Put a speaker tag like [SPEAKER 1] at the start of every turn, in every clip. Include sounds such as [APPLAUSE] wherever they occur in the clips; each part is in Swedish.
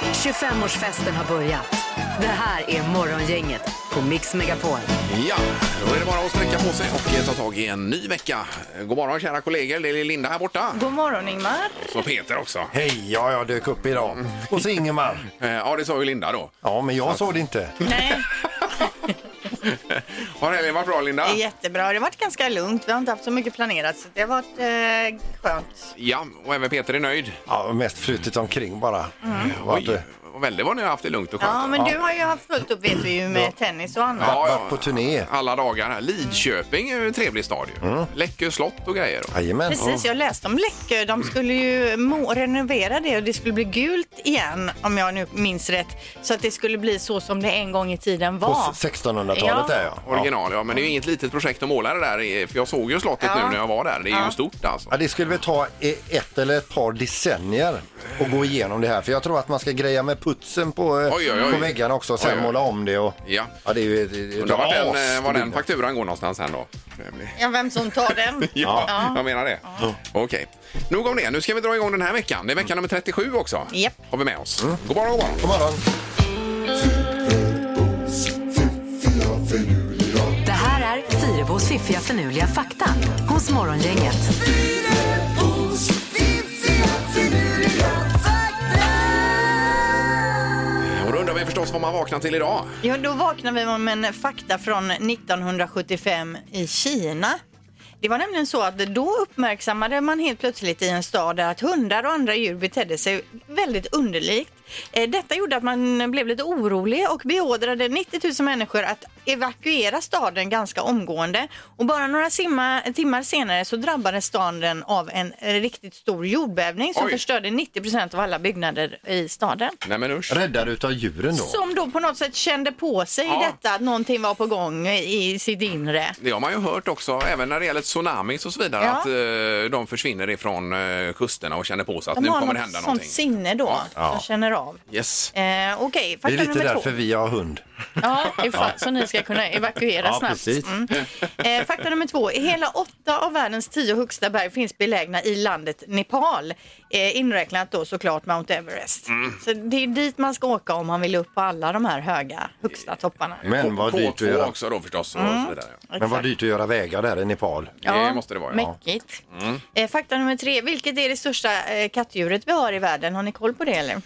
[SPEAKER 1] 25-årsfesten har börjat. Det här är Morgongänget på Mix Megapol.
[SPEAKER 2] Ja, då är det bara att sträcka på sig och eh, ta tag i en ny vecka. God morgon kära kollegor, det är Linda här borta.
[SPEAKER 3] God morgon Ingmar.
[SPEAKER 2] Och Peter också.
[SPEAKER 4] Hej, ja, jag dök upp idag. Och så Ingemar.
[SPEAKER 2] Eh, Ja, det sa ju Linda då. [LAUGHS]
[SPEAKER 4] Ja, men jag såg det inte.
[SPEAKER 3] Nej,
[SPEAKER 2] Har helgen varit bra Linda?
[SPEAKER 3] det är jättebra. Det har varit ganska lugnt. Vi har inte haft så mycket planerat så det har varit eh, skönt.
[SPEAKER 2] Ja, och även Peter är nöjd.
[SPEAKER 4] Ja, mest flutit omkring bara. Varit,
[SPEAKER 2] Mm. Oj, vad väldigt vad ni har haft det lugnt och skönt.
[SPEAKER 3] Ja, men du har ju haft fullt upp vet vi ju med tennis och annat.
[SPEAKER 2] Ja,
[SPEAKER 4] varit på turné.
[SPEAKER 2] Alla dagar här. Lidköping är ju en trevlig stad ju.
[SPEAKER 4] Mm.
[SPEAKER 2] Läckö slott och grejer.
[SPEAKER 4] Jajamän.
[SPEAKER 3] Precis, jag läste om Läckö. De skulle ju må- renovera det och det skulle bli gult igen om jag nu minns rätt. Så att det skulle bli så som det en gång i tiden
[SPEAKER 4] På
[SPEAKER 3] var.
[SPEAKER 4] 1600-talet
[SPEAKER 3] Ja.
[SPEAKER 4] där ja. ja.
[SPEAKER 2] Original, ja. Men det är ju inget litet projekt att måla det där i, för jag såg ju slottet nu när jag var där. Det är ju stort alltså.
[SPEAKER 4] Ja, det skulle väl ta e- ett eller ett par decennier att gå igenom det här. För jag tror att man ska greja med putsen på, eh,
[SPEAKER 2] Oj, oj, oj.
[SPEAKER 4] på väggarna också och
[SPEAKER 2] Oj,
[SPEAKER 4] sen
[SPEAKER 2] oj.
[SPEAKER 4] måla om det. Och,
[SPEAKER 2] Ja.
[SPEAKER 4] ja, det är ju ett, ett
[SPEAKER 2] Undrar var den, eh, var den
[SPEAKER 4] asbyggnad.
[SPEAKER 2] fakturan går någonstans sen då. Det blir-
[SPEAKER 3] Ja, vem som tar [LAUGHS] den?
[SPEAKER 2] Ja, jag menar det. Okej. Nog om det. Nu ska vi dra igång den här veckan. Det är vecka nummer 37 också.
[SPEAKER 3] Japp.
[SPEAKER 2] Har vi med oss. God morgon, god morgon.
[SPEAKER 4] God morgon.
[SPEAKER 1] Det här är Fyrebos fiffiga förnuliga fakta hos Morgongänget.
[SPEAKER 2] Och då undrar vi förstås vad man vaknar till idag.
[SPEAKER 3] Ja, då vaknar vi om en fakta från 1975 i Kina. Det var nämligen så att då uppmärksammade man helt plötsligt i en stad att hundar och andra djur betedde sig väldigt underligt. Eh, Detta gjorde att man blev lite orolig och beordrade 90 000 människor att evakuera staden ganska omgående. Och bara några simma, timmar senare så drabbades staden av en eh, riktigt stor jordbävning som
[SPEAKER 2] Oj.
[SPEAKER 3] förstörde 90 procent av alla byggnader i staden.
[SPEAKER 2] Nej men usch.
[SPEAKER 4] Räddad utav djuren då.
[SPEAKER 3] Som då på något sätt kände på sig
[SPEAKER 2] Ja.
[SPEAKER 3] detta att någonting var på gång i sitt inre.
[SPEAKER 2] Det har man ju hört också, även när det gäller tsunamis och så vidare,
[SPEAKER 3] Ja.
[SPEAKER 2] att eh, de försvinner ifrån eh, kusterna och känner på sig att
[SPEAKER 3] De
[SPEAKER 2] nu
[SPEAKER 3] har
[SPEAKER 2] kommer
[SPEAKER 3] något
[SPEAKER 2] det hända
[SPEAKER 3] sånt
[SPEAKER 2] någonting.
[SPEAKER 3] sinne då
[SPEAKER 4] Ja.
[SPEAKER 3] som känner av.
[SPEAKER 2] Yes.
[SPEAKER 3] Eh, Okej,
[SPEAKER 4] Det är
[SPEAKER 3] fakta
[SPEAKER 4] lite
[SPEAKER 3] nummer två.
[SPEAKER 4] därför vi har hund. [LAUGHS]
[SPEAKER 3] Ja, ifall, så ni ska kunna evakuera
[SPEAKER 4] Ja,
[SPEAKER 3] snabbt.
[SPEAKER 4] precis. [LAUGHS]
[SPEAKER 3] Eh, fakta nummer två. Hela åtta av världens tio högsta berg finns belägna i landet Nepal. Eh, inräknat då såklart Mount Everest.
[SPEAKER 4] Mm.
[SPEAKER 3] Så det är dit man ska åka om man vill upp på alla de här höga, högsta topparna.
[SPEAKER 4] Men vad dyrt att
[SPEAKER 2] K2
[SPEAKER 4] göra.
[SPEAKER 2] också då förstås. Och
[SPEAKER 3] Mm.
[SPEAKER 2] så vidare.
[SPEAKER 4] Men vad dyrt att göra vägar där i Nepal.
[SPEAKER 2] Det måste det vara. Ja. Mm.
[SPEAKER 3] Mäckigt. Eh, fakta nummer tre. Vilket är det största eh, kattdjuret vi har i världen? Har ni koll på det eller?
[SPEAKER 2] Eh,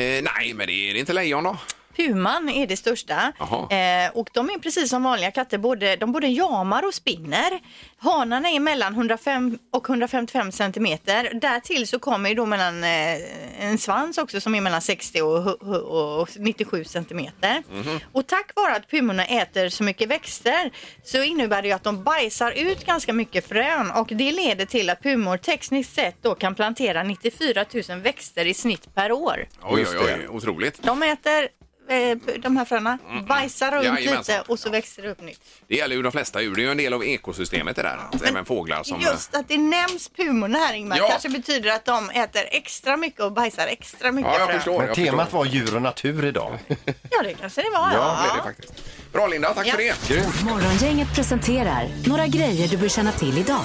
[SPEAKER 2] nej, men det är det inte lejon då?
[SPEAKER 3] Puman är det största.
[SPEAKER 2] Jaha.
[SPEAKER 3] Eh, och de är precis som vanliga katter. Både, de både jamar och spinner. Hanarna är mellan 105 och 155 centimeter. Därtill så kommer ju då mellan eh, en svans också som är mellan 60 och, hu- hu- och 97 centimeter. Och tack vare att pumorna äter så mycket växter så innebär det ju att de bajsar ut ganska mycket frön och det leder till att pumor tekniskt sett då kan plantera 94 000 växter i snitt per år.
[SPEAKER 2] Oj,
[SPEAKER 4] Just
[SPEAKER 2] oj,
[SPEAKER 4] det.
[SPEAKER 2] oj, otroligt.
[SPEAKER 3] De äter eh, de här fröna,
[SPEAKER 2] Mm,
[SPEAKER 3] bajsar runt
[SPEAKER 2] Jajamensan.
[SPEAKER 3] lite och så växer det upp nytt.
[SPEAKER 2] Det gäller ju de flesta djur. Det är ju en del av ekosystemet det där. Att även fåglar som... eh,
[SPEAKER 3] Just att det nämns pumorna här Ingmar
[SPEAKER 2] Ja.
[SPEAKER 3] kanske betyder att de äter extra mycket och bajsar extra mycket
[SPEAKER 2] Ja, jag
[SPEAKER 3] frön.
[SPEAKER 2] förstår.
[SPEAKER 4] Men
[SPEAKER 2] jag
[SPEAKER 4] temat
[SPEAKER 2] förstår.
[SPEAKER 4] var djur och natur idag.
[SPEAKER 3] Ja, det kanske det var.
[SPEAKER 2] Ja, det är det faktiskt. eh, Bra Linda, tack
[SPEAKER 3] Ja.
[SPEAKER 2] för det.
[SPEAKER 1] Morgongänget presenterar några grejer du bör känna till idag.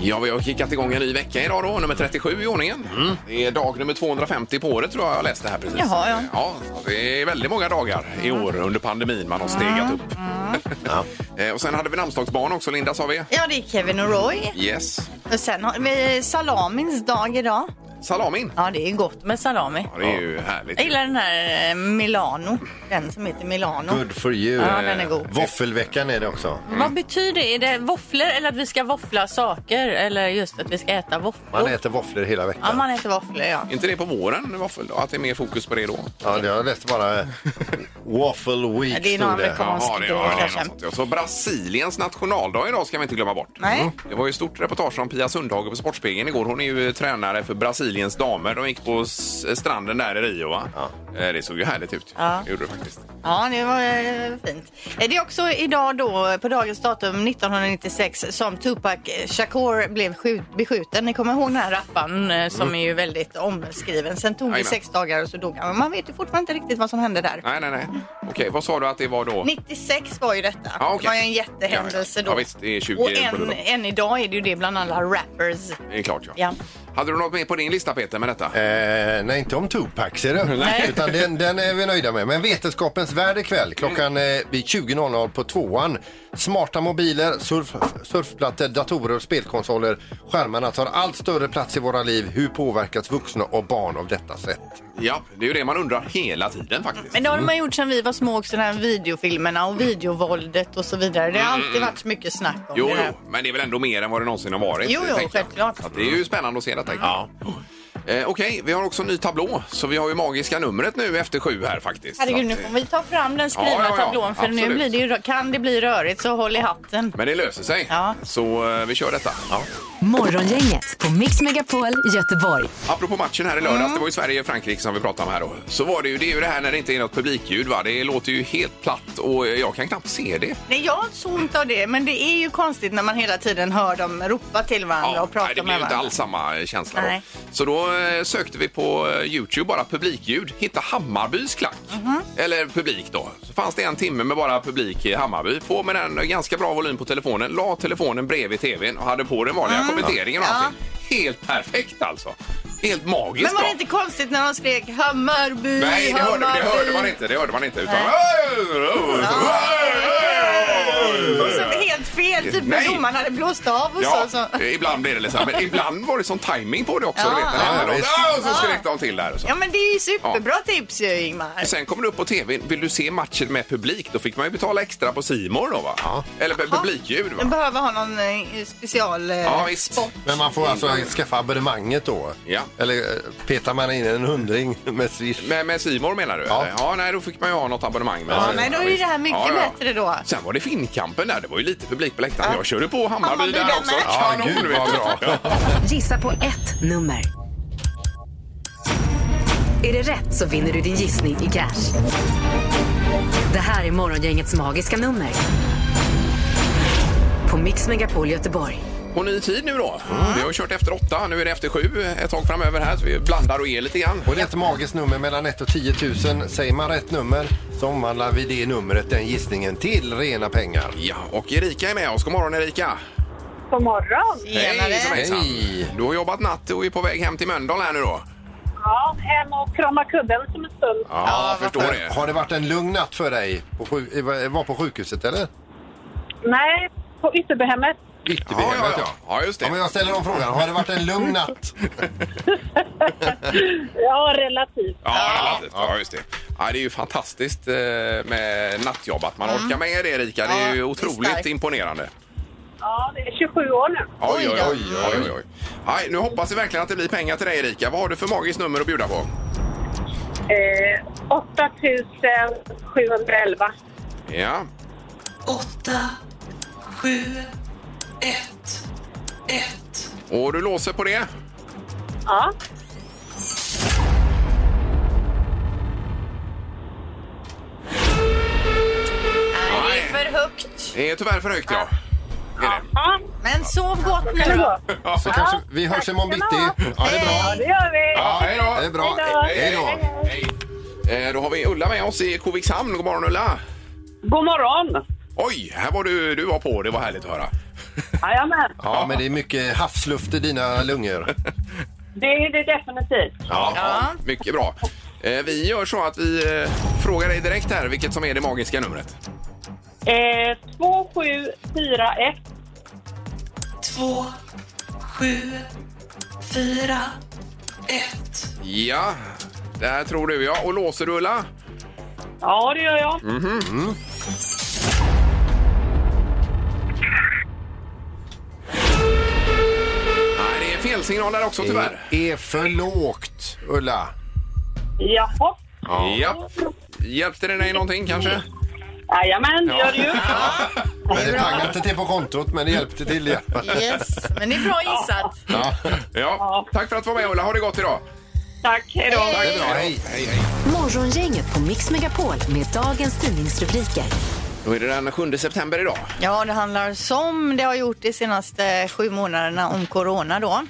[SPEAKER 2] Ja, vi har kickat igång en ny vecka idag då, nummer 37 i ordningen. Det är dag nummer 250 på året tror jag jag läste här precis.
[SPEAKER 3] Mm. Jaha, ja. Mm.
[SPEAKER 2] det är väldigt många dagar i år under pandemin man har stegat upp. [LAUGHS] Eh, och sen hade vi namnsdagsbarn också, Linda sa vi.
[SPEAKER 3] Ja, det är Kevin och Roy.
[SPEAKER 2] Yes.
[SPEAKER 3] Och sen har vi salamins dag idag.
[SPEAKER 2] Salamin.
[SPEAKER 3] Ja, det är gott med salami.
[SPEAKER 2] Ja, det är ju härligt.
[SPEAKER 3] Jag gillar den här eh, Milano. Den som heter Milano.
[SPEAKER 4] Good for you.
[SPEAKER 3] Ja, den är god.
[SPEAKER 4] Våffelveckan är det också.
[SPEAKER 5] Vad betyder det? Är det våfflor eller att vi ska våffla saker? Eller just att vi ska äta våfflor?
[SPEAKER 4] Man äter våfflor hela
[SPEAKER 3] Oh. Ja,
[SPEAKER 4] veckan.
[SPEAKER 3] man äter våfflor ja.
[SPEAKER 2] inte det på våren, våffel då? Att det är mer fokus på det då?
[SPEAKER 4] Ja, det- jag läste bara eh, Waffle Week
[SPEAKER 3] Det är någon
[SPEAKER 4] stod det.
[SPEAKER 3] amerikan. Jaha,
[SPEAKER 2] det,
[SPEAKER 3] det
[SPEAKER 2] ja, det är
[SPEAKER 3] kanske.
[SPEAKER 2] något sånt. ja. Så Brasiliens nationaldag idag ska vi inte glömma bort. Mm.
[SPEAKER 3] Nej.
[SPEAKER 2] Det var ju ett stort reportage om Pia Sundhage på Sportspegeln igår. Hon är ju tränare för Brasiliens damer. De gick på s- stranden där i Rio va? Eh, Det såg ju härligt ut.
[SPEAKER 3] Ja.
[SPEAKER 2] Det gjorde det faktiskt.
[SPEAKER 3] Ja, det var eh, fint. Eh, Det är också idag då, på dagens datum 1996, som Tupac Shakur blev skjut, beskjuten. Ni kommer ihåg den här rapparen eh, som är ju väldigt omskriven. Sen tog det
[SPEAKER 2] Mm. Jajamän.
[SPEAKER 3] sex dagar och så dog han. Men Man vet ju fortfarande inte riktigt vad som hände där.
[SPEAKER 2] Nej, nej, nej. Okej, vad sa du att det var då?
[SPEAKER 3] 96 var ju detta.
[SPEAKER 2] Ja, okej.
[SPEAKER 3] Det var ju en jättehändelse
[SPEAKER 2] Ja, ja. Ja,
[SPEAKER 3] då.
[SPEAKER 2] visst, det är 20
[SPEAKER 3] och
[SPEAKER 2] på
[SPEAKER 3] än,
[SPEAKER 2] det.
[SPEAKER 3] än idag är det ju det bland alla rappers.
[SPEAKER 2] Det är klart ja.
[SPEAKER 3] Ja.
[SPEAKER 2] Hade du något mer på din lista Peter med detta?
[SPEAKER 4] Eh, nej, inte om Tupac ser du. [LAUGHS] Utan den, den är vi nöjda med. Men Vetenskapens värld ikväll klockan eh, vid 20.00 på tvåan. Smarta mobiler, surf, surfplattor, datorer och spelkonsoler. Skärmarna tar allt större plats i våra liv. Hur påverkas vuxna och barn av detta sätt?
[SPEAKER 2] Ja, det är ju det man undrar hela tiden faktiskt.
[SPEAKER 3] Men det har man gjort sedan vi var små också, de här videofilmerna och videovåldet och så vidare. Det har alltid varit så mycket snack
[SPEAKER 2] Mm,
[SPEAKER 3] om
[SPEAKER 2] Jo,
[SPEAKER 3] det där.
[SPEAKER 2] jo, men det är väl ändå mer än vad det någonsin har varit.
[SPEAKER 3] Jo, jo,
[SPEAKER 2] tänker jag.
[SPEAKER 3] självklart.
[SPEAKER 2] Så att det är ju spännande att se detta. Ja. Eh, Okej, vi har också en ny tablå, så vi har ju magiska numret nu efter sju här faktiskt.
[SPEAKER 3] Herregud,
[SPEAKER 2] Så
[SPEAKER 3] nu
[SPEAKER 2] att, eh,
[SPEAKER 3] kommer vi ta fram den skrivna
[SPEAKER 2] Ja, ja, ja.
[SPEAKER 3] tablån för nu
[SPEAKER 2] Absolut.
[SPEAKER 3] blir det ju, kan det bli rörigt så håll i hatten.
[SPEAKER 2] eh, Men det löser sig,
[SPEAKER 3] Ja.
[SPEAKER 2] så eh, vi kör detta.
[SPEAKER 1] Morgongänget på Mix Megapol i Göteborg.
[SPEAKER 2] Apropå matchen här i
[SPEAKER 3] Mm.
[SPEAKER 2] lördags, det var ju Sverige och Frankrike som vi pratade om här då. Så var det ju, det är ju det här när det inte är något publikljud va. Det låter ju helt platt och jag kan knappt se det.
[SPEAKER 3] Nej, jag har inte så ont av det, men det är ju konstigt när man hela tiden hör dem ropa till varandra och prata
[SPEAKER 2] nej, det blir
[SPEAKER 3] med
[SPEAKER 2] ju inte
[SPEAKER 3] varandra.
[SPEAKER 2] alls samma känsla
[SPEAKER 3] Nej.
[SPEAKER 2] då. Så då eh, sökte vi på eh, Youtube bara publikljud, hitta Hammarbys klack. Eller publik då. Så fanns det en timme med bara publik i Hammarby. På med den ganska bra volym på telefonen, la telefonen bredvid tvn och hade på den vanliga kommenteringen och
[SPEAKER 3] Ja.
[SPEAKER 2] allting. Helt perfekt alltså. Helt magiskt
[SPEAKER 3] Men var det
[SPEAKER 2] bra.
[SPEAKER 3] inte konstigt när de skrek Hammarby,
[SPEAKER 2] Nej, det hörde,
[SPEAKER 3] Hammarby?
[SPEAKER 2] det hörde man inte. Det hörde man inte. Utan...
[SPEAKER 3] Och så helt fel, typ
[SPEAKER 2] Nej.
[SPEAKER 3] när domaren hade blåst av och
[SPEAKER 2] Ja, eh,
[SPEAKER 3] så. så.
[SPEAKER 2] ibland blir det lite så här, men ibland var det sån timing på det också.
[SPEAKER 3] Ja.
[SPEAKER 2] du vet, när det hände
[SPEAKER 4] Ja,
[SPEAKER 2] något.
[SPEAKER 4] visst.
[SPEAKER 2] Ah, och så skrek de till där. Och så.
[SPEAKER 3] Ja men det är ju superbra tips ju Ingmar.
[SPEAKER 2] Sen kommer det upp på tv. Vill du se matchen med publik? Då fick man ju betala extra på Simor då va? Eller med publikljud
[SPEAKER 3] Den
[SPEAKER 2] va?
[SPEAKER 3] behöver ha någon eh, special... eh,
[SPEAKER 2] Ja, visst.
[SPEAKER 4] Men man får alltså skaffa abonnemanget då.
[SPEAKER 2] Ja.
[SPEAKER 4] Eller eh, petar man in en hundring [LAUGHS] med swish.
[SPEAKER 2] Med, med Simor menar du?
[SPEAKER 4] Ja.
[SPEAKER 2] eller? ja, nej då fick man ju ha något abonnemang med.
[SPEAKER 3] Ja,
[SPEAKER 2] sig.
[SPEAKER 3] men då är ju det här mycket
[SPEAKER 2] Ja, ja.
[SPEAKER 3] bättre då.
[SPEAKER 2] Sen var det Finnkampen där. Det var ju lite publik på läktaren. Jag körde på Hammarby,
[SPEAKER 3] Hammarby
[SPEAKER 2] där
[SPEAKER 3] där
[SPEAKER 2] också.
[SPEAKER 3] med.
[SPEAKER 4] Ja,
[SPEAKER 2] Kanon,
[SPEAKER 4] gud,
[SPEAKER 2] vet
[SPEAKER 4] vad
[SPEAKER 2] du.
[SPEAKER 4] bra.
[SPEAKER 2] Ja.
[SPEAKER 1] Gissa på ett nummer. Är det rätt så vinner du din gissning i cash. Det här är Morgongängets magiska nummer. På Mix Megapol Göteborg.
[SPEAKER 2] Och ny tid nu då.
[SPEAKER 4] Mm.
[SPEAKER 2] Vi har ju kört efter åtta, nu är det efter sju ett tag framöver här så vi blandar och ger lite grann.
[SPEAKER 4] Och det är ett magiskt nummer mellan 1 och 10 000. Säger man rätt nummer så omvandlar vi det numret, den gissningen, till rena pengar.
[SPEAKER 2] Ja, och Erika är med oss. God morgon Erika!
[SPEAKER 6] God morgon!
[SPEAKER 3] Tjenare.
[SPEAKER 2] som hejsan.
[SPEAKER 4] Hej.
[SPEAKER 2] Du har jobbat natt och är på väg hem till Mölndal här nu då?
[SPEAKER 6] Ja, hem och krama kudden som en stund.
[SPEAKER 2] Ja, jag förstår det.
[SPEAKER 4] Eh, Har det varit en lugn natt för dig? På sju, eh, var på sjukhuset eller?
[SPEAKER 6] Nej, på Ytterbyhemmet.
[SPEAKER 2] Ja, ja,
[SPEAKER 4] Ytterbyhemmet
[SPEAKER 2] ja. ja, just det.
[SPEAKER 4] Ja, men jag ställer om frågan. Har det varit en lugn natt?
[SPEAKER 6] Ja, relativt.
[SPEAKER 2] Ja, relativt. ja, just det. Ja, det är ju fantastiskt eh, med nattjobb, att man orkar med det Erika. Det är ju
[SPEAKER 3] Ja, det är
[SPEAKER 2] otroligt
[SPEAKER 3] starkt.
[SPEAKER 2] imponerande.
[SPEAKER 6] Ja, det är 27 år nu.
[SPEAKER 2] Oj, oj, oj.
[SPEAKER 4] Oj,
[SPEAKER 2] oj, oj, oj. Aj, nu hoppas vi verkligen att det blir pengar till dig Erika. Vad har du för magiskt nummer att bjuda på?
[SPEAKER 6] Eh, 8711.
[SPEAKER 2] Ja,
[SPEAKER 7] 8, 7, 1, 1.
[SPEAKER 2] och du låser på det?
[SPEAKER 6] Ja,
[SPEAKER 3] Det är för högt.
[SPEAKER 2] Det är Eh, tyvärr för högt, ja. Är det?
[SPEAKER 6] ja.
[SPEAKER 3] Men sov gott
[SPEAKER 6] Kan
[SPEAKER 3] nu
[SPEAKER 6] det
[SPEAKER 3] då.
[SPEAKER 6] gå?
[SPEAKER 4] Så kanske, vi hörs imorgon bitti. Ja, det är
[SPEAKER 6] Ja,
[SPEAKER 4] bra.
[SPEAKER 6] det gör vi.
[SPEAKER 2] Ja, hej då!
[SPEAKER 4] Det är bra.
[SPEAKER 2] Hej
[SPEAKER 4] Hej då.
[SPEAKER 2] då! Eh, Då har vi Ulla med oss i Kovikshamn. God morgon Ulla!
[SPEAKER 6] God morgon!
[SPEAKER 2] Oj, här var du, du var på. Det var härligt att höra.
[SPEAKER 6] Jajamän,
[SPEAKER 4] Ja, men det är mycket havsluft i dina lungor.
[SPEAKER 6] det är det definitivt.
[SPEAKER 2] Ja, Mycket bra. Eh, Vi gör så att vi eh, frågar dig direkt här vilket som är det magiska numret.
[SPEAKER 6] Eh, 2741.
[SPEAKER 7] 2, 7, 4, 1.
[SPEAKER 2] Ja, där tror du ja. Och låser du Ulla?
[SPEAKER 6] Ja, det gör jag.
[SPEAKER 2] Mm. Nej, det är fel signal där också
[SPEAKER 4] Det
[SPEAKER 2] tyvärr.
[SPEAKER 4] är för lågt, Ulla.
[SPEAKER 6] Jaha.
[SPEAKER 2] Ja. Hjälpte det dig någonting kanske?
[SPEAKER 6] Jajamän, det
[SPEAKER 2] [LAUGHS]
[SPEAKER 6] gör det ju.
[SPEAKER 4] Men det pangade inte till på kontot, men det hjälpte till. Ja.
[SPEAKER 3] Yes, men det är bra gissat.
[SPEAKER 2] Ja. Tack för att du var med Ulla. Ha det gott idag.
[SPEAKER 6] Tack, hej då.
[SPEAKER 4] Det är bra. Hej.
[SPEAKER 2] Hej, hej.
[SPEAKER 1] Morgongänget på Mix Megapol med dagens tidningsrubriker.
[SPEAKER 2] Då är det den 7 september idag.
[SPEAKER 3] Ja, det handlar som det har gjort de senaste sju månaderna om corona då.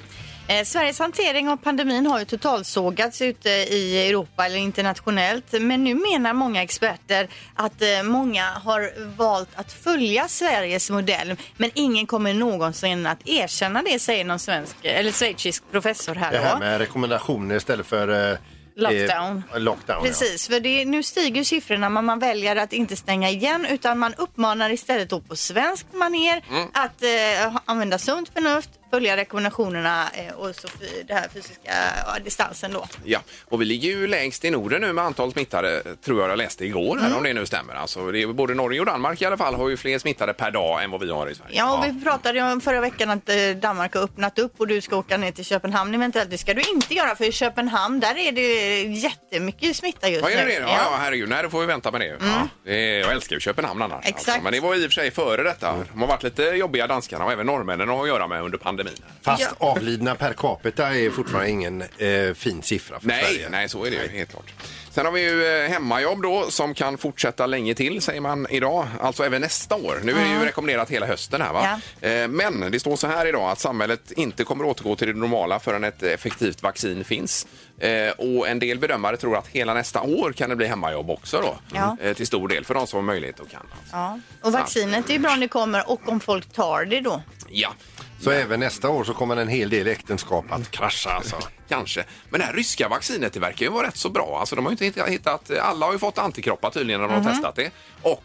[SPEAKER 3] Eh, Sveriges hantering av pandemin har ju totalsågats ute i Europa eller internationellt. Men nu menar många experter att eh, många har valt att följa Sveriges modell. Men ingen kommer någonsin att erkänna det, säger någon svensk eller schweizisk professor här.
[SPEAKER 4] Det här
[SPEAKER 3] då.
[SPEAKER 4] med rekommendationer istället för... eh,
[SPEAKER 3] Lockdown.
[SPEAKER 4] Eh, lockdown Ja.
[SPEAKER 3] Precis, för det, nu stiger siffrorna men man väljer att inte stänga igen utan man uppmanar istället då på svenskt manér att eh, ha- använda sunt förnuft, följa rekommendationerna eh, och så fy, det här fysiska ja, distansen då.
[SPEAKER 2] Ja, och vi ligger ju längst i Norden nu med antal smittade, tror jag jag läste igår,
[SPEAKER 3] Mm.
[SPEAKER 2] här, om det nu stämmer. Alltså, det är både Norge och Danmark i alla fall har ju fler smittade per dag än vad vi har i Sverige.
[SPEAKER 3] Ja, och vi pratade ju om förra veckan att eh, Danmark har öppnat upp och du ska åka ner till Köpenhamn eventuellt. Det ska du inte göra för i Köpenhamn där är det jättemycket smitta just
[SPEAKER 2] Ja,
[SPEAKER 3] nu.
[SPEAKER 2] är det det? Ja, ja, herregud. Nej, då får vi vänta med det. Ja, det är, jag älskar ju Köpenhamn annars.
[SPEAKER 3] Mm.
[SPEAKER 2] alltså.
[SPEAKER 3] Exakt.
[SPEAKER 2] Men det var i och för sig före detta. De har varit lite jobbiga danskarna och även norrmännen har att göra med under pandemin.
[SPEAKER 4] Fast avlidna per capita är fortfarande ingen eh, fin siffra för
[SPEAKER 2] Nej,
[SPEAKER 4] Sverige.
[SPEAKER 2] nej, så är det ju helt klart. Sen har vi ju eh, hemmajobb då som kan fortsätta länge till säger man idag, alltså även nästa år. Nu är det ju rekommenderat hela hösten här va. Eh, Men det står så här idag att samhället inte kommer återgå till det normala förrän ett effektivt vaccin finns. Eh, Och en del bedömare tror att hela nästa år kan det bli hemmajobb också då.
[SPEAKER 3] Ja.
[SPEAKER 2] Eh, Till stor del för de som har möjlighet och kan. alltså.
[SPEAKER 3] Ja. Och vaccinet är ju bra om det kommer och om folk tar det då.
[SPEAKER 2] Ja.
[SPEAKER 4] Så även nästa år så kommer en hel del äktenskap att krascha alltså.
[SPEAKER 2] Kanske. Men det här ryska vaccinet det verkar ju vara rätt så bra. Alltså, de har ju inte hittat, alla har ju fått antikroppar tydligen när de
[SPEAKER 3] Mhm.
[SPEAKER 2] har testat det. Och